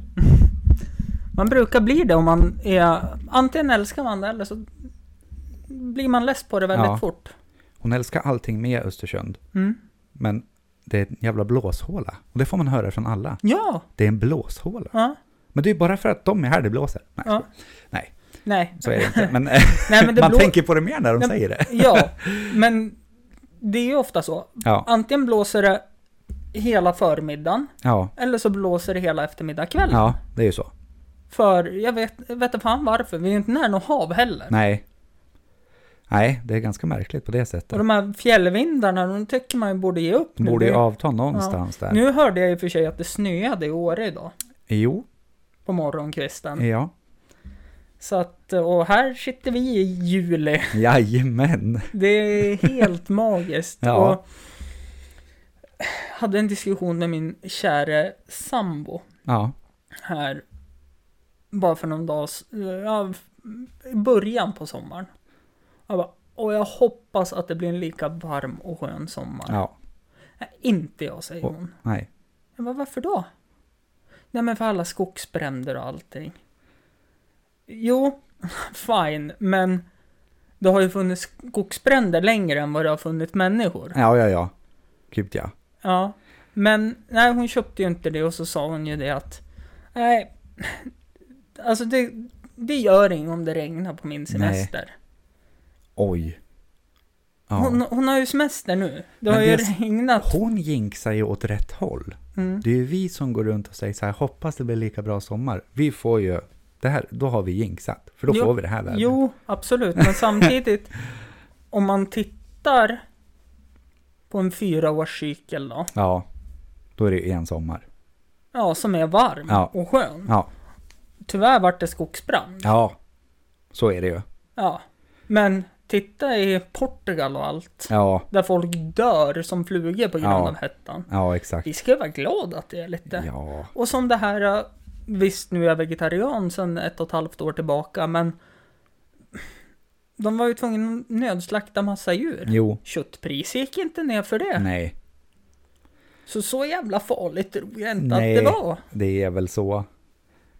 [SPEAKER 1] Man brukar bli det om man är... Antingen älskar man det eller så blir man less på det väldigt
[SPEAKER 2] Ja.
[SPEAKER 1] fort.
[SPEAKER 2] Hon älskar allting med Östersund,
[SPEAKER 1] Mm.
[SPEAKER 2] men det är en jävla blåshåla. Och det får man höra från alla.
[SPEAKER 1] Ja.
[SPEAKER 2] Det är en blåshåla.
[SPEAKER 1] ja.
[SPEAKER 2] Men det är ju bara för att de är här det blåser. Nej,
[SPEAKER 1] Ja.
[SPEAKER 2] Nej.
[SPEAKER 1] Nej.
[SPEAKER 2] så är det inte. Men,
[SPEAKER 1] Nej men det
[SPEAKER 2] man
[SPEAKER 1] blå...
[SPEAKER 2] tänker på det mer när de
[SPEAKER 1] Nej,
[SPEAKER 2] säger det.
[SPEAKER 1] Ja, men det är ju ofta så.
[SPEAKER 2] Ja,
[SPEAKER 1] Antingen blåser det hela förmiddagen
[SPEAKER 2] ja,
[SPEAKER 1] eller så blåser det hela eftermiddagskvällen.
[SPEAKER 2] ja, det är ju så.
[SPEAKER 1] För jag vet, jag vet inte fan varför, vi är ju inte nära något hav heller.
[SPEAKER 2] Nej. Nej, det är ganska märkligt på det
[SPEAKER 1] Och
[SPEAKER 2] sättet.
[SPEAKER 1] de här fjällvindarna, de tycker man ju borde ge upp
[SPEAKER 2] De
[SPEAKER 1] nu.
[SPEAKER 2] borde ju
[SPEAKER 1] Det-
[SPEAKER 2] avta någonstans där.
[SPEAKER 1] Nu hörde jag ju för sig att det snöade i Åre idag,
[SPEAKER 2] Jo,
[SPEAKER 1] på morgonkvisten.
[SPEAKER 2] ja.
[SPEAKER 1] Så att, och här sitter vi i juli.
[SPEAKER 2] Jajamän.
[SPEAKER 1] Det är helt magiskt.
[SPEAKER 2] Ja.
[SPEAKER 1] Och hade en diskussion med min kära sambo
[SPEAKER 2] Ja,
[SPEAKER 1] här bara för någon dag s- ja, i början på sommaren. Jag bara, och jag hoppas att det blir en lika varm och skön sommar.
[SPEAKER 2] ja,
[SPEAKER 1] Nej, inte jag, säger
[SPEAKER 2] Och-
[SPEAKER 1] hon.
[SPEAKER 2] nej.
[SPEAKER 1] Jag bara, varför då? Nej men för alla skogsbränder och allting. Jo, fine, men det har ju funnits skogsbränder längre än vad det har funnits människor.
[SPEAKER 2] Ja, ja, ja. Gud ja.
[SPEAKER 1] Ja, men nej hon köpte ju inte det och så sa hon ju det att nej, alltså det, det gör inget om det regnar på min semester.
[SPEAKER 2] Oj. Ja.
[SPEAKER 1] Hon, hon har ju semester nu. Det
[SPEAKER 2] Men
[SPEAKER 1] har ju
[SPEAKER 2] det är-
[SPEAKER 1] regnat.
[SPEAKER 2] Hon jinxar ju åt rätt håll.
[SPEAKER 1] Mm.
[SPEAKER 2] Det är ju vi som går runt och säger så här, hoppas det blir lika bra sommar. Vi får ju, det här, då har vi jinxat, för då
[SPEAKER 1] Jo,
[SPEAKER 2] får vi det här vädret.
[SPEAKER 1] Jo, absolut. Men samtidigt, om man tittar på en fyraårscykel då,
[SPEAKER 2] Ja, då är det ju en sommar.
[SPEAKER 1] ja, som är varm
[SPEAKER 2] Ja.
[SPEAKER 1] och skön.
[SPEAKER 2] Ja,
[SPEAKER 1] Tyvärr vart det skogsbrand.
[SPEAKER 2] ja, så är det ju.
[SPEAKER 1] Ja. Men titta i Portugal och allt,
[SPEAKER 2] Ja,
[SPEAKER 1] där folk dör som flugor på grund
[SPEAKER 2] Ja.
[SPEAKER 1] av hettan.
[SPEAKER 2] ja exakt.
[SPEAKER 1] Vi ska ju vara glada att det är lite.
[SPEAKER 2] Ja,
[SPEAKER 1] Och som det här, eh, visst nu är jag vegetarian sedan ett och ett halvt år tillbaka, men de var ju tvungna att nödslakta massa djur.
[SPEAKER 2] jo,
[SPEAKER 1] Köttpris gick inte ner för det.
[SPEAKER 2] nej,
[SPEAKER 1] Så så jävla farligt tror jag inte
[SPEAKER 2] Nej.
[SPEAKER 1] att det var.
[SPEAKER 2] det är väl så.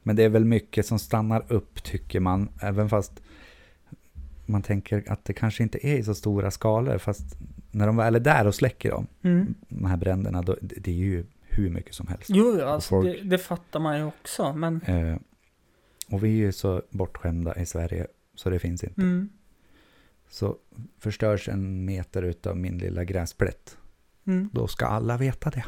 [SPEAKER 2] Men det är väl mycket som stannar upp tycker man, även fast man tänker att det kanske inte är i så stora skalor, fast när de väl är där och släcker dem,
[SPEAKER 1] Mm.
[SPEAKER 2] de här bränderna, då, det det är ju hur mycket som helst.
[SPEAKER 1] Jo, ja, alltså,
[SPEAKER 2] folk-
[SPEAKER 1] det, det fattar man ju också, men...
[SPEAKER 2] Eh, och vi är ju så bortskämda i Sverige, så det finns inte.
[SPEAKER 1] Mm,
[SPEAKER 2] Så förstörs en meter utav min lilla gräsplätt,
[SPEAKER 1] mm.
[SPEAKER 2] då ska alla veta det.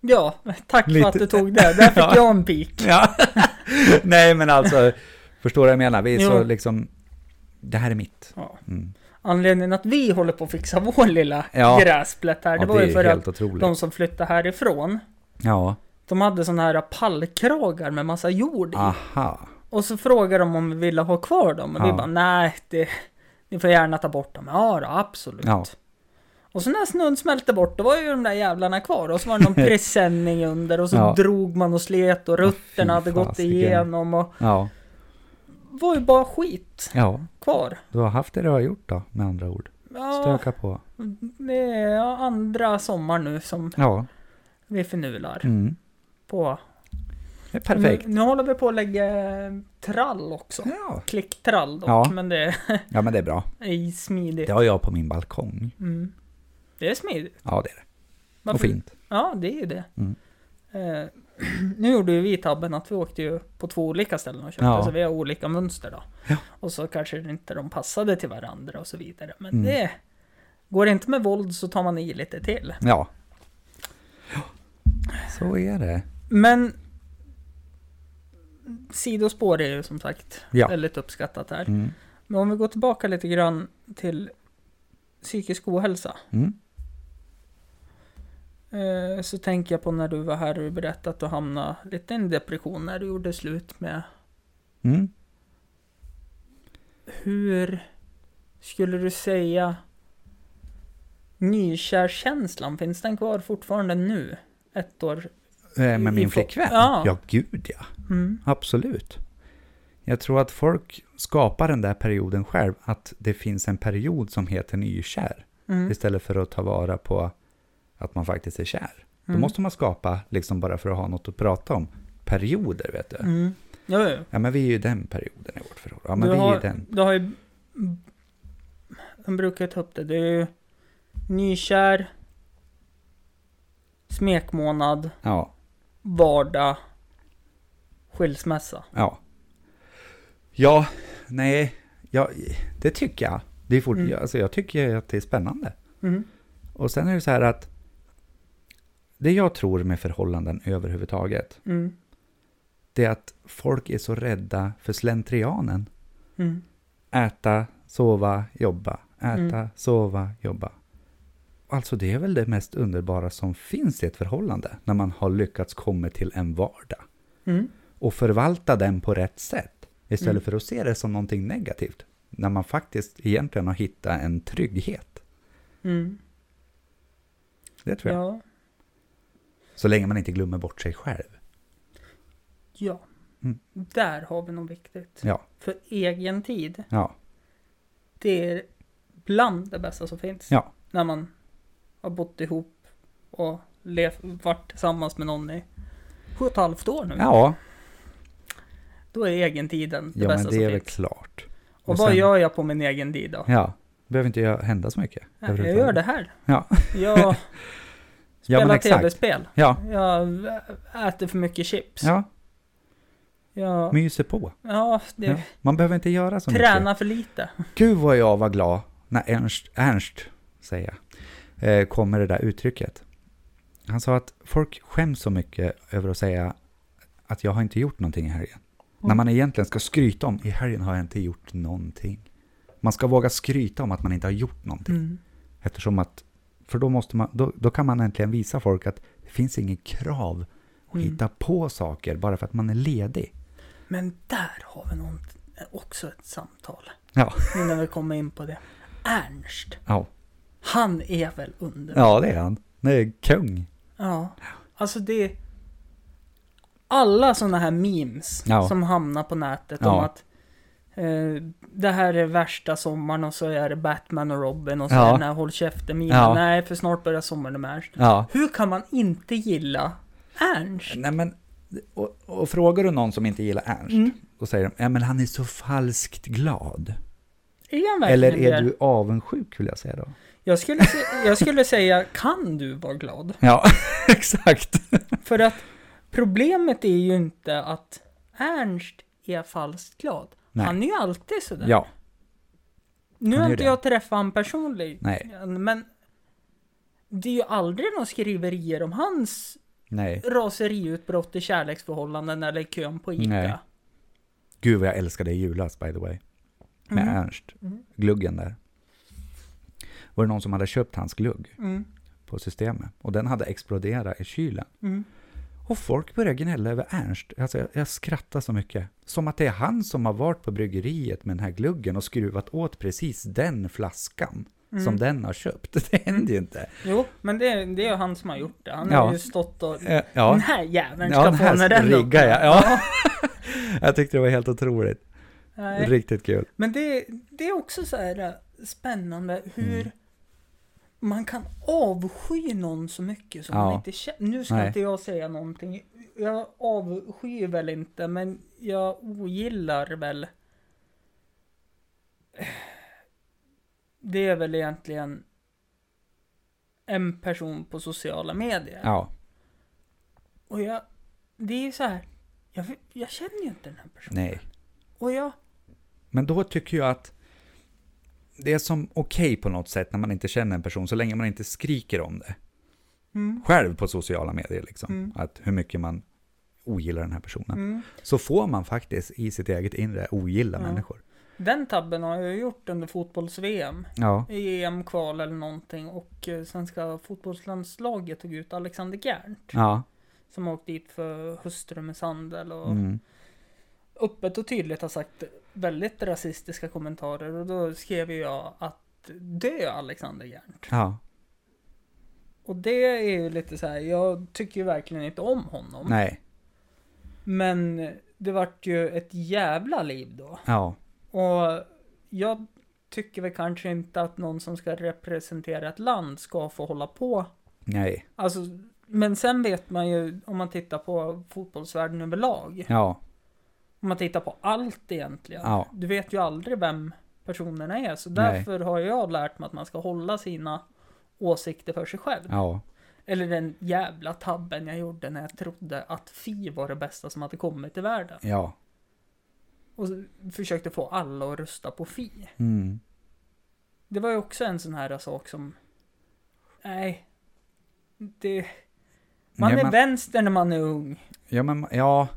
[SPEAKER 1] Ja, tack för
[SPEAKER 2] Lite-
[SPEAKER 1] att du tog det. Där fick
[SPEAKER 2] Ja.
[SPEAKER 1] jag en pik.
[SPEAKER 2] Ja. Nej, men alltså, förstår du vad jag menar? Vi är så
[SPEAKER 1] Jo.
[SPEAKER 2] liksom, det här är mitt.
[SPEAKER 1] Ja.
[SPEAKER 2] Mm.
[SPEAKER 1] Anledningen att vi håller på att fixa vår lilla
[SPEAKER 2] Ja.
[SPEAKER 1] gräsplätt här, det
[SPEAKER 2] Ja,
[SPEAKER 1] var ju
[SPEAKER 2] det
[SPEAKER 1] för
[SPEAKER 2] är
[SPEAKER 1] att
[SPEAKER 2] helt otroligt.
[SPEAKER 1] de som flyttade härifrån,
[SPEAKER 2] Ja,
[SPEAKER 1] de hade sådana här pallkragar med massa jord
[SPEAKER 2] Ah.
[SPEAKER 1] i.
[SPEAKER 2] aha.
[SPEAKER 1] Och så frågade de om vi ville ha kvar dem och vi
[SPEAKER 2] Ja.
[SPEAKER 1] bara nej, det, ni får gärna ta bort dem. Ja då, absolut.
[SPEAKER 2] Ja.
[SPEAKER 1] Och så när snön smälte bort, då var ju de där jävlarna kvar och så var det någon presenning under och så
[SPEAKER 2] Ja.
[SPEAKER 1] drog man och slet och rutterna hade gått
[SPEAKER 2] fasiken.
[SPEAKER 1] igenom och
[SPEAKER 2] Ja,
[SPEAKER 1] var ju bara skit
[SPEAKER 2] ja.
[SPEAKER 1] kvar.
[SPEAKER 2] Du har haft det du har gjort då, med andra ord.
[SPEAKER 1] Ja,
[SPEAKER 2] Stöka på.
[SPEAKER 1] det är andra sommar nu som
[SPEAKER 2] Ja,
[SPEAKER 1] vi förnular
[SPEAKER 2] mm.
[SPEAKER 1] på.
[SPEAKER 2] det är perfekt.
[SPEAKER 1] Nu, nu håller vi på att lägga eh, trall också.
[SPEAKER 2] Ja.
[SPEAKER 1] Klicktrall dock,
[SPEAKER 2] Ja.
[SPEAKER 1] men det
[SPEAKER 2] ja, men det är bra.
[SPEAKER 1] är smidigt.
[SPEAKER 2] Det har jag på min balkong.
[SPEAKER 1] Mm. Det är smidigt.
[SPEAKER 2] Ja, det är det. Och
[SPEAKER 1] Varför-
[SPEAKER 2] fint.
[SPEAKER 1] Ja, det är ju det.
[SPEAKER 2] Mm.
[SPEAKER 1] Eh, nu gjorde ju vi tabben att vi åkte ju på två olika ställen och köpte,
[SPEAKER 2] Ja.
[SPEAKER 1] så vi har olika mönster då.
[SPEAKER 2] Ja.
[SPEAKER 1] Och så kanske inte de passade till varandra och så vidare. Men
[SPEAKER 2] Mm.
[SPEAKER 1] det går det inte med våld så tar man i lite till.
[SPEAKER 2] Ja. Så är det.
[SPEAKER 1] Men sidospår är ju som sagt
[SPEAKER 2] Ja.
[SPEAKER 1] väldigt uppskattat här.
[SPEAKER 2] Mm.
[SPEAKER 1] Men om vi går tillbaka lite grann till psykisk ohälsa.
[SPEAKER 2] Mm.
[SPEAKER 1] Eh, Så tänker jag på när du var här och du berättade att du hamnade lite i en depression när du gjorde slut med
[SPEAKER 2] Mm.
[SPEAKER 1] Hur skulle du säga nykärkänslan, finns den kvar fortfarande nu? Ett år?
[SPEAKER 2] Eh, Med
[SPEAKER 1] Vi
[SPEAKER 2] min
[SPEAKER 1] får-
[SPEAKER 2] flickvän?
[SPEAKER 1] Ja.
[SPEAKER 2] ja, gud ja.
[SPEAKER 1] Mm.
[SPEAKER 2] Absolut. Jag tror att folk skapar den där perioden själv, att det finns en period som heter nykär.
[SPEAKER 1] Mm.
[SPEAKER 2] Istället för att ta vara på att man faktiskt är kär.
[SPEAKER 1] Mm.
[SPEAKER 2] Då måste man skapa, liksom bara för att ha något att prata om, perioder vet du.
[SPEAKER 1] Mm. Jo, jo.
[SPEAKER 2] Ja men vi är ju den perioden i vårt förhållande. Ja men
[SPEAKER 1] du
[SPEAKER 2] vi är
[SPEAKER 1] har,
[SPEAKER 2] ju den.
[SPEAKER 1] Du har ju... De brukar ju ta upp det. Det är ju nykär, smekmånad,
[SPEAKER 2] Ja,
[SPEAKER 1] vardag, skilsmässa.
[SPEAKER 2] ja. Ja, nej, ja, det tycker jag. Det är fort,
[SPEAKER 1] Mm.
[SPEAKER 2] jag- alltså, jag tycker att det är spännande.
[SPEAKER 1] Mm.
[SPEAKER 2] Och sen är det så här att det jag tror med förhållanden överhuvudtaget,
[SPEAKER 1] Mm.
[SPEAKER 2] det är att folk är så rädda för slentrianen.
[SPEAKER 1] Mm.
[SPEAKER 2] Äta, sova, jobba. Äta,
[SPEAKER 1] Mm.
[SPEAKER 2] sova, jobba. Alltså det är väl det mest underbara som finns i ett förhållande, när man har lyckats komma till en vardag
[SPEAKER 1] Mm.
[SPEAKER 2] och förvalta den på rätt sätt. Istället
[SPEAKER 1] Mm.
[SPEAKER 2] för att se det som någonting negativt, när man faktiskt egentligen har hittat en trygghet.
[SPEAKER 1] Mm.
[SPEAKER 2] Det tror jag.
[SPEAKER 1] Ja.
[SPEAKER 2] Så länge man inte glömmer bort sig själv.
[SPEAKER 1] Ja.
[SPEAKER 2] Mm.
[SPEAKER 1] Där har vi något viktigt.
[SPEAKER 2] Ja,
[SPEAKER 1] För egen tid,
[SPEAKER 2] ja,
[SPEAKER 1] det är bland det bästa som finns.
[SPEAKER 2] ja,
[SPEAKER 1] När man har bott ihop och lev, varit tillsammans med någon i sju och ett halvt år nu.
[SPEAKER 2] ja.
[SPEAKER 1] Då är egen tiden Mm. det
[SPEAKER 2] Ja, men
[SPEAKER 1] bästa
[SPEAKER 2] det är
[SPEAKER 1] som
[SPEAKER 2] väl
[SPEAKER 1] finns.
[SPEAKER 2] klart.
[SPEAKER 1] Och,
[SPEAKER 2] Och
[SPEAKER 1] vad
[SPEAKER 2] sen-
[SPEAKER 1] gör jag på min egen tid då?
[SPEAKER 2] Ja, behöver inte jag hända så mycket.
[SPEAKER 1] Nej, jag gör det här.
[SPEAKER 2] Ja.
[SPEAKER 1] Jag
[SPEAKER 2] Ja,
[SPEAKER 1] spelar
[SPEAKER 2] men exakt.
[SPEAKER 1] tv-spel.
[SPEAKER 2] Ja,
[SPEAKER 1] Jag äter för mycket chips.
[SPEAKER 2] ja,
[SPEAKER 1] Jag,
[SPEAKER 2] myser på.
[SPEAKER 1] ja, det,
[SPEAKER 2] Ja. Man behöver inte göra så
[SPEAKER 1] träna för lite.
[SPEAKER 2] mycket. Gud vad jag var glad när Ernst, Ernst säger jag, eh, kom med det där uttrycket. Han sa att folk skäms så mycket över att säga att jag har inte gjort någonting i helgen.
[SPEAKER 1] Mm.
[SPEAKER 2] När man egentligen ska skryta om, i helgen har jag inte gjort någonting. Man ska våga skryta om att man inte har gjort någonting.
[SPEAKER 1] Mm.
[SPEAKER 2] Eftersom att, för då, måste man, då, då kan man äntligen visa folk att det finns inget krav att
[SPEAKER 1] Mm.
[SPEAKER 2] hitta på saker bara för att man är ledig.
[SPEAKER 1] Men där har vi något, också ett samtal.
[SPEAKER 2] Ja,
[SPEAKER 1] Nu när vi kommer in på det. Ernst,
[SPEAKER 2] ja,
[SPEAKER 1] han är väl underbar?
[SPEAKER 2] ja det är han. Det är kung.
[SPEAKER 1] Ja. Alltså det... Alla sådana här memes
[SPEAKER 2] Ja.
[SPEAKER 1] som hamnar på nätet om
[SPEAKER 2] Ja.
[SPEAKER 1] att eh, det här är värsta sommaren och så är det Batman och Robin och så
[SPEAKER 2] Ja.
[SPEAKER 1] är den här håll käften
[SPEAKER 2] Ja.
[SPEAKER 1] Nej, för snart börjar sommaren med Ernst.
[SPEAKER 2] Ja.
[SPEAKER 1] Hur kan man inte gilla Ernst?
[SPEAKER 2] Nej, men, och, och frågar du någon som inte gillar Ernst,
[SPEAKER 1] Mm.
[SPEAKER 2] då säger de, ja men han är så falskt glad.
[SPEAKER 1] Är han verkligen
[SPEAKER 2] Eller är
[SPEAKER 1] det?
[SPEAKER 2] du avundsjuk vill jag säga då?
[SPEAKER 1] Jag, skulle, se- jag skulle säga, kan du vara glad?
[SPEAKER 2] Ja, exakt.
[SPEAKER 1] För att problemet är ju inte att Ernst är falskt glad.
[SPEAKER 2] Nej.
[SPEAKER 1] Han är ju alltid sådär.
[SPEAKER 2] Ja,
[SPEAKER 1] nu
[SPEAKER 2] han
[SPEAKER 1] har
[SPEAKER 2] är
[SPEAKER 1] inte
[SPEAKER 2] det.
[SPEAKER 1] jag träffat honom personligen.
[SPEAKER 2] Nej.
[SPEAKER 1] Men det är ju aldrig några skriverier om hans
[SPEAKER 2] nej.
[SPEAKER 1] raseriutbrott i kärleksförhållanden eller kön på Ica.
[SPEAKER 2] Nej. Gud vad jag älskade i julas by the way. Med
[SPEAKER 1] Mm.
[SPEAKER 2] Ernst. Gluggen där. Var det någon som hade köpt hans glugg
[SPEAKER 1] Mm.
[SPEAKER 2] på systemet. Och den hade exploderat i kylen.
[SPEAKER 1] Mm.
[SPEAKER 2] Och folk började gnälla över Ernst. Alltså jag, jag skrattar så mycket. Som att det är han som har varit på bryggeriet med den här gluggen och skruvat åt precis den flaskan.
[SPEAKER 1] Mm.
[SPEAKER 2] Som den har köpt. Det händer ju inte.
[SPEAKER 1] Jo, men det, det är ju han som har gjort det. Han
[SPEAKER 2] Ja.
[SPEAKER 1] har ju stått och...
[SPEAKER 2] Eh, Ja,
[SPEAKER 1] Den här jäveln Mm. ska
[SPEAKER 2] ja den
[SPEAKER 1] få när
[SPEAKER 2] här
[SPEAKER 1] den upp.
[SPEAKER 2] riggar jag. Ja. jag tyckte det var helt otroligt.
[SPEAKER 1] Nej.
[SPEAKER 2] Riktigt kul.
[SPEAKER 1] Men det, det är också så här äh, spännande hur
[SPEAKER 2] Mm.
[SPEAKER 1] man kan avsky någon så mycket som man
[SPEAKER 2] Ja.
[SPEAKER 1] inte känner. Nu ska
[SPEAKER 2] Nej.
[SPEAKER 1] inte jag säga någonting. Jag avskyr väl inte, men jag ogillar väl. Det är väl egentligen en person på sociala medier.
[SPEAKER 2] Ja,
[SPEAKER 1] Och jag, det är så här. Jag, jag känner ju inte den här personen.
[SPEAKER 2] nej.
[SPEAKER 1] Och jag,
[SPEAKER 2] Men då tycker jag att det är som okej på något sätt när man inte känner en person, så länge man inte skriker om det.
[SPEAKER 1] Mm.
[SPEAKER 2] Själv på sociala medier liksom,
[SPEAKER 1] Mm.
[SPEAKER 2] att hur mycket man ogillar den här personen.
[SPEAKER 1] mm.
[SPEAKER 2] Så får man faktiskt i sitt eget inre ogilla
[SPEAKER 1] Ja.
[SPEAKER 2] människor.
[SPEAKER 1] Den tabben har jag gjort under fotbolls-VM.
[SPEAKER 2] Ja,
[SPEAKER 1] I EM-kval eller någonting och eh, svenska fotbollslandslaget tog ut Alexander Gärnt.
[SPEAKER 2] ja,
[SPEAKER 1] Som har åkt dit för hustrumisshandel och
[SPEAKER 2] mm.
[SPEAKER 1] öppet och tydligt har sagt väldigt rasistiska kommentarer. Och då skrev ju jag att dö Alexander Gärnt.
[SPEAKER 2] ja,
[SPEAKER 1] Och det är ju lite så här, jag tycker ju verkligen inte om honom.
[SPEAKER 2] nej,
[SPEAKER 1] Men det vart ju ett jävla liv då.
[SPEAKER 2] ja,
[SPEAKER 1] Och jag tycker väl kanske inte att någon som ska representera ett land ska få hålla på.
[SPEAKER 2] nej,
[SPEAKER 1] Alltså, men sen vet man ju om man tittar på fotbollsvärlden överlag.
[SPEAKER 2] ja,
[SPEAKER 1] Om man tittar på allt egentligen.
[SPEAKER 2] Ja.
[SPEAKER 1] Du vet ju aldrig vem personerna är. Så
[SPEAKER 2] Nej.
[SPEAKER 1] därför har jag lärt mig att man ska hålla sina åsikter för sig själv.
[SPEAKER 2] ja,
[SPEAKER 1] Eller den jävla tabben jag gjorde när jag trodde att Fi var det bästa som hade kommit i världen.
[SPEAKER 2] ja,
[SPEAKER 1] Och så försökte få alla att rösta på Fi.
[SPEAKER 2] mm.
[SPEAKER 1] Det var ju också en sån här sak som... Nej. Det... Man
[SPEAKER 2] Nej,
[SPEAKER 1] är
[SPEAKER 2] men-
[SPEAKER 1] vänster när man är ung.
[SPEAKER 2] ja, men, ja.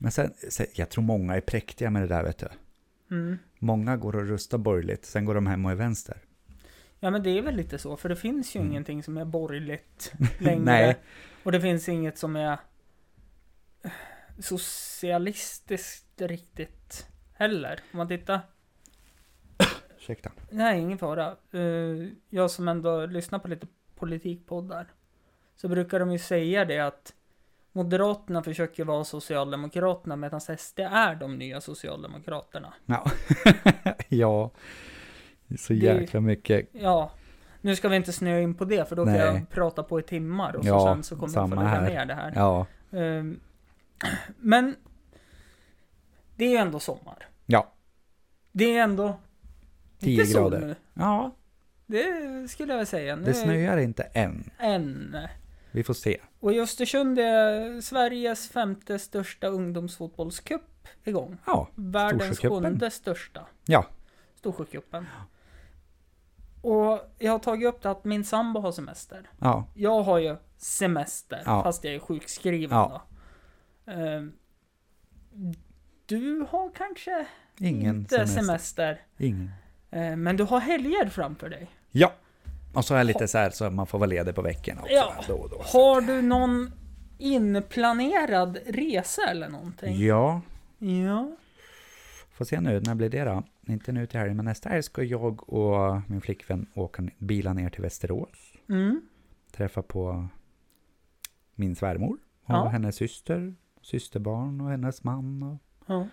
[SPEAKER 2] Men sen, sen, jag tror många är präktiga med det där, vet du.
[SPEAKER 1] Mm.
[SPEAKER 2] Många går och röstar borgerligt, sen går de hem och är vänster.
[SPEAKER 1] Ja men det är väl lite så, för det finns ju ingenting som är borgerligt längre.
[SPEAKER 2] Mm. Nej.
[SPEAKER 1] Och det finns inget som är eh, socialistiskt riktigt heller. Om man tittar.
[SPEAKER 2] Ursäkta.
[SPEAKER 1] Nej, ingen fara. Eh, Jag som ändå lyssnar på lite politikpoddar. Så brukar de ju säga det att Moderaterna försöker vara Socialdemokraterna medan SD är de nya Socialdemokraterna.
[SPEAKER 2] Ja, ja. Det är så
[SPEAKER 1] Det-
[SPEAKER 2] jäkla mycket.
[SPEAKER 1] Ja, nu ska vi inte snöa in på det för då
[SPEAKER 2] Nej.
[SPEAKER 1] kan jag prata på i timmar och
[SPEAKER 2] Ja,
[SPEAKER 1] så sen så kommer jag få
[SPEAKER 2] samma
[SPEAKER 1] lägga ner
[SPEAKER 2] här.
[SPEAKER 1] det här.
[SPEAKER 2] Ja,
[SPEAKER 1] Eh, Men det är ju ändå sommar.
[SPEAKER 2] ja,
[SPEAKER 1] Det är ändå
[SPEAKER 2] 10
[SPEAKER 1] lite sol
[SPEAKER 2] grader.
[SPEAKER 1] nu.
[SPEAKER 2] Ja,
[SPEAKER 1] Det skulle jag väl säga. Nu
[SPEAKER 2] det snöar inte än.
[SPEAKER 1] Än.
[SPEAKER 2] Vi får se.
[SPEAKER 1] Och i Östersund är Sveriges femte största ungdomsfotbollscup igång.
[SPEAKER 2] Ja,
[SPEAKER 1] Världens
[SPEAKER 2] Storsjöcupen.
[SPEAKER 1] sjunde största.
[SPEAKER 2] ja,
[SPEAKER 1] Storsjöcupen. Och jag har tagit upp det att min sambo har semester.
[SPEAKER 2] ja,
[SPEAKER 1] Jag har ju semester,
[SPEAKER 2] Ja.
[SPEAKER 1] fast jag är sjukskriven
[SPEAKER 2] Ja.
[SPEAKER 1] då. Ehm, Du har kanske
[SPEAKER 2] ingen
[SPEAKER 1] inte semester,
[SPEAKER 2] semester. Ingen.
[SPEAKER 1] eh, men du har helger framför dig.
[SPEAKER 2] Ja, och så är jag lite så här så man får vara ledig på veckan också.
[SPEAKER 1] Ja.
[SPEAKER 2] Då och då.
[SPEAKER 1] Har du någon inplanerad resa eller någonting?
[SPEAKER 2] Ja,
[SPEAKER 1] Ja.
[SPEAKER 2] får se nu, när blir det då? Inte nu till helgen, men nästa helg ska jag och min flickvän åka n- bila ner till Västerås.
[SPEAKER 1] Mm.
[SPEAKER 2] träffa på min svärmor och
[SPEAKER 1] Ja.
[SPEAKER 2] hennes syster, systerbarn och hennes man. Och...
[SPEAKER 1] Ja.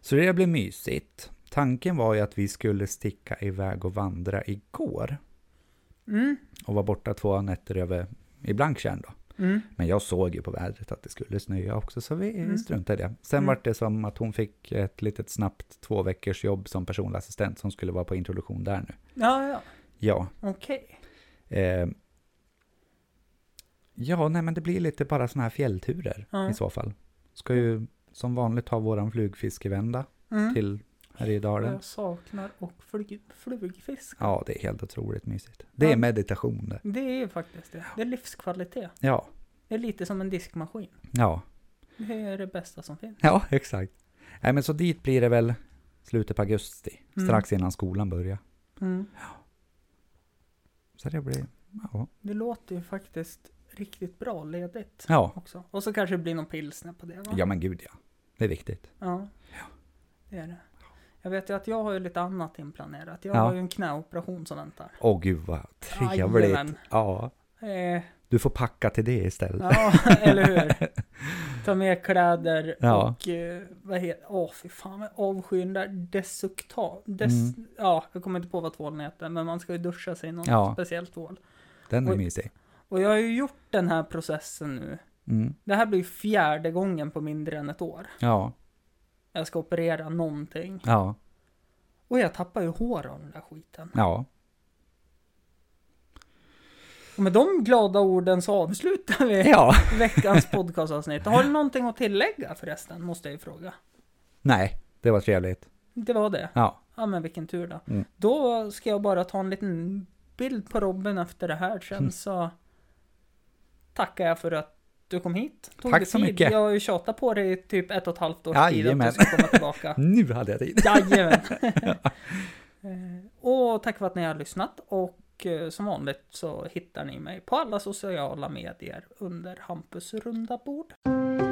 [SPEAKER 2] Så det blev mysigt. Tanken var ju att vi skulle sticka iväg och vandra igår
[SPEAKER 1] Mm.
[SPEAKER 2] och vara borta två nätter över i Blanktjärn då.
[SPEAKER 1] Mm.
[SPEAKER 2] Men jag såg ju på vädret att det skulle snöa också, så vi
[SPEAKER 1] Mm.
[SPEAKER 2] struntade i det. Sen
[SPEAKER 1] Mm.
[SPEAKER 2] var det som att hon fick ett litet snabbt två veckors jobb som personlig assistent som skulle vara på introduktion där nu.
[SPEAKER 1] Ja, ja,
[SPEAKER 2] Ja,
[SPEAKER 1] okej.
[SPEAKER 2] eh, ja nej, men det blir lite bara sådana här fjällturer
[SPEAKER 1] Ja.
[SPEAKER 2] i så fall. Ska ju som vanligt ha våran flugfiskevända
[SPEAKER 1] Mm.
[SPEAKER 2] till Härjedalen.
[SPEAKER 1] Jag saknar och flug, flugfisk.
[SPEAKER 2] Ja, det är helt otroligt mysigt. Det är
[SPEAKER 1] Ja.
[SPEAKER 2] meditation det.
[SPEAKER 1] Det är faktiskt det. Det är livskvalitet.
[SPEAKER 2] Ja,
[SPEAKER 1] Det är lite som en diskmaskin.
[SPEAKER 2] ja.
[SPEAKER 1] Det är det bästa som finns.
[SPEAKER 2] Ja, exakt. Nej, men så dit blir det väl slutet på augusti,
[SPEAKER 1] Mm.
[SPEAKER 2] strax innan skolan börjar.
[SPEAKER 1] Mm.
[SPEAKER 2] Så det blir, ja.
[SPEAKER 1] Det låter ju faktiskt riktigt bra ledigt
[SPEAKER 2] Ja,
[SPEAKER 1] också. Och så kanske det blir någon pilsner på det va?
[SPEAKER 2] ja men gud ja. Det är viktigt.
[SPEAKER 1] Ja, det är det. Jag vet ju att jag har ju lite annat inplanerat. Jag
[SPEAKER 2] Ja.
[SPEAKER 1] har ju en knäoperation som väntar.
[SPEAKER 2] Åh gud vad trevligt.
[SPEAKER 1] Jajamän.
[SPEAKER 2] Ja,
[SPEAKER 1] Eh,
[SPEAKER 2] du får packa till det istället.
[SPEAKER 1] ja, eller hur? Ta med kläder
[SPEAKER 2] Ja.
[SPEAKER 1] och eh, vad heter Åh, fy fan vad jag avskyr den där desukta. Des,
[SPEAKER 2] Mm.
[SPEAKER 1] Ja, jag kommer inte på vad tvålen heter, men man ska ju duscha sig i någon
[SPEAKER 2] Ja.
[SPEAKER 1] speciell tvål.
[SPEAKER 2] Den är
[SPEAKER 1] Oj.
[SPEAKER 2] mysig.
[SPEAKER 1] Och jag har ju gjort den här processen nu.
[SPEAKER 2] Mm.
[SPEAKER 1] Det här blir ju fjärde gången på mindre än ett år.
[SPEAKER 2] Ja,
[SPEAKER 1] Jag ska operera någonting.
[SPEAKER 2] ja,
[SPEAKER 1] Och jag tappar ju hår av den där skiten.
[SPEAKER 2] ja.
[SPEAKER 1] Och med de glada orden så avslutar vi
[SPEAKER 2] Ja,
[SPEAKER 1] veckans podcastavsnitt. Har du någonting att tillägga förresten? Måste jag ju fråga.
[SPEAKER 2] nej, det var trevligt.
[SPEAKER 1] Det var det.
[SPEAKER 2] Ja,
[SPEAKER 1] Ja men vilken tur då.
[SPEAKER 2] Mm.
[SPEAKER 1] Då ska jag bara ta en liten bild på Robin efter det här. Sen
[SPEAKER 2] Mm.
[SPEAKER 1] så tackar jag för att du kom hit. Tog
[SPEAKER 2] Tack
[SPEAKER 1] dig
[SPEAKER 2] så
[SPEAKER 1] tid.
[SPEAKER 2] mycket.
[SPEAKER 1] Jag har ju tjatat på dig i typ ett och ett halvt års tid att du
[SPEAKER 2] Jajamän.
[SPEAKER 1] ska komma tillbaka.
[SPEAKER 2] nu hade jag tid.
[SPEAKER 1] Jajamän. Eh, och tack för att ni har lyssnat. Och eh, som vanligt så hittar ni mig på alla sociala medier under Hampus runda bord.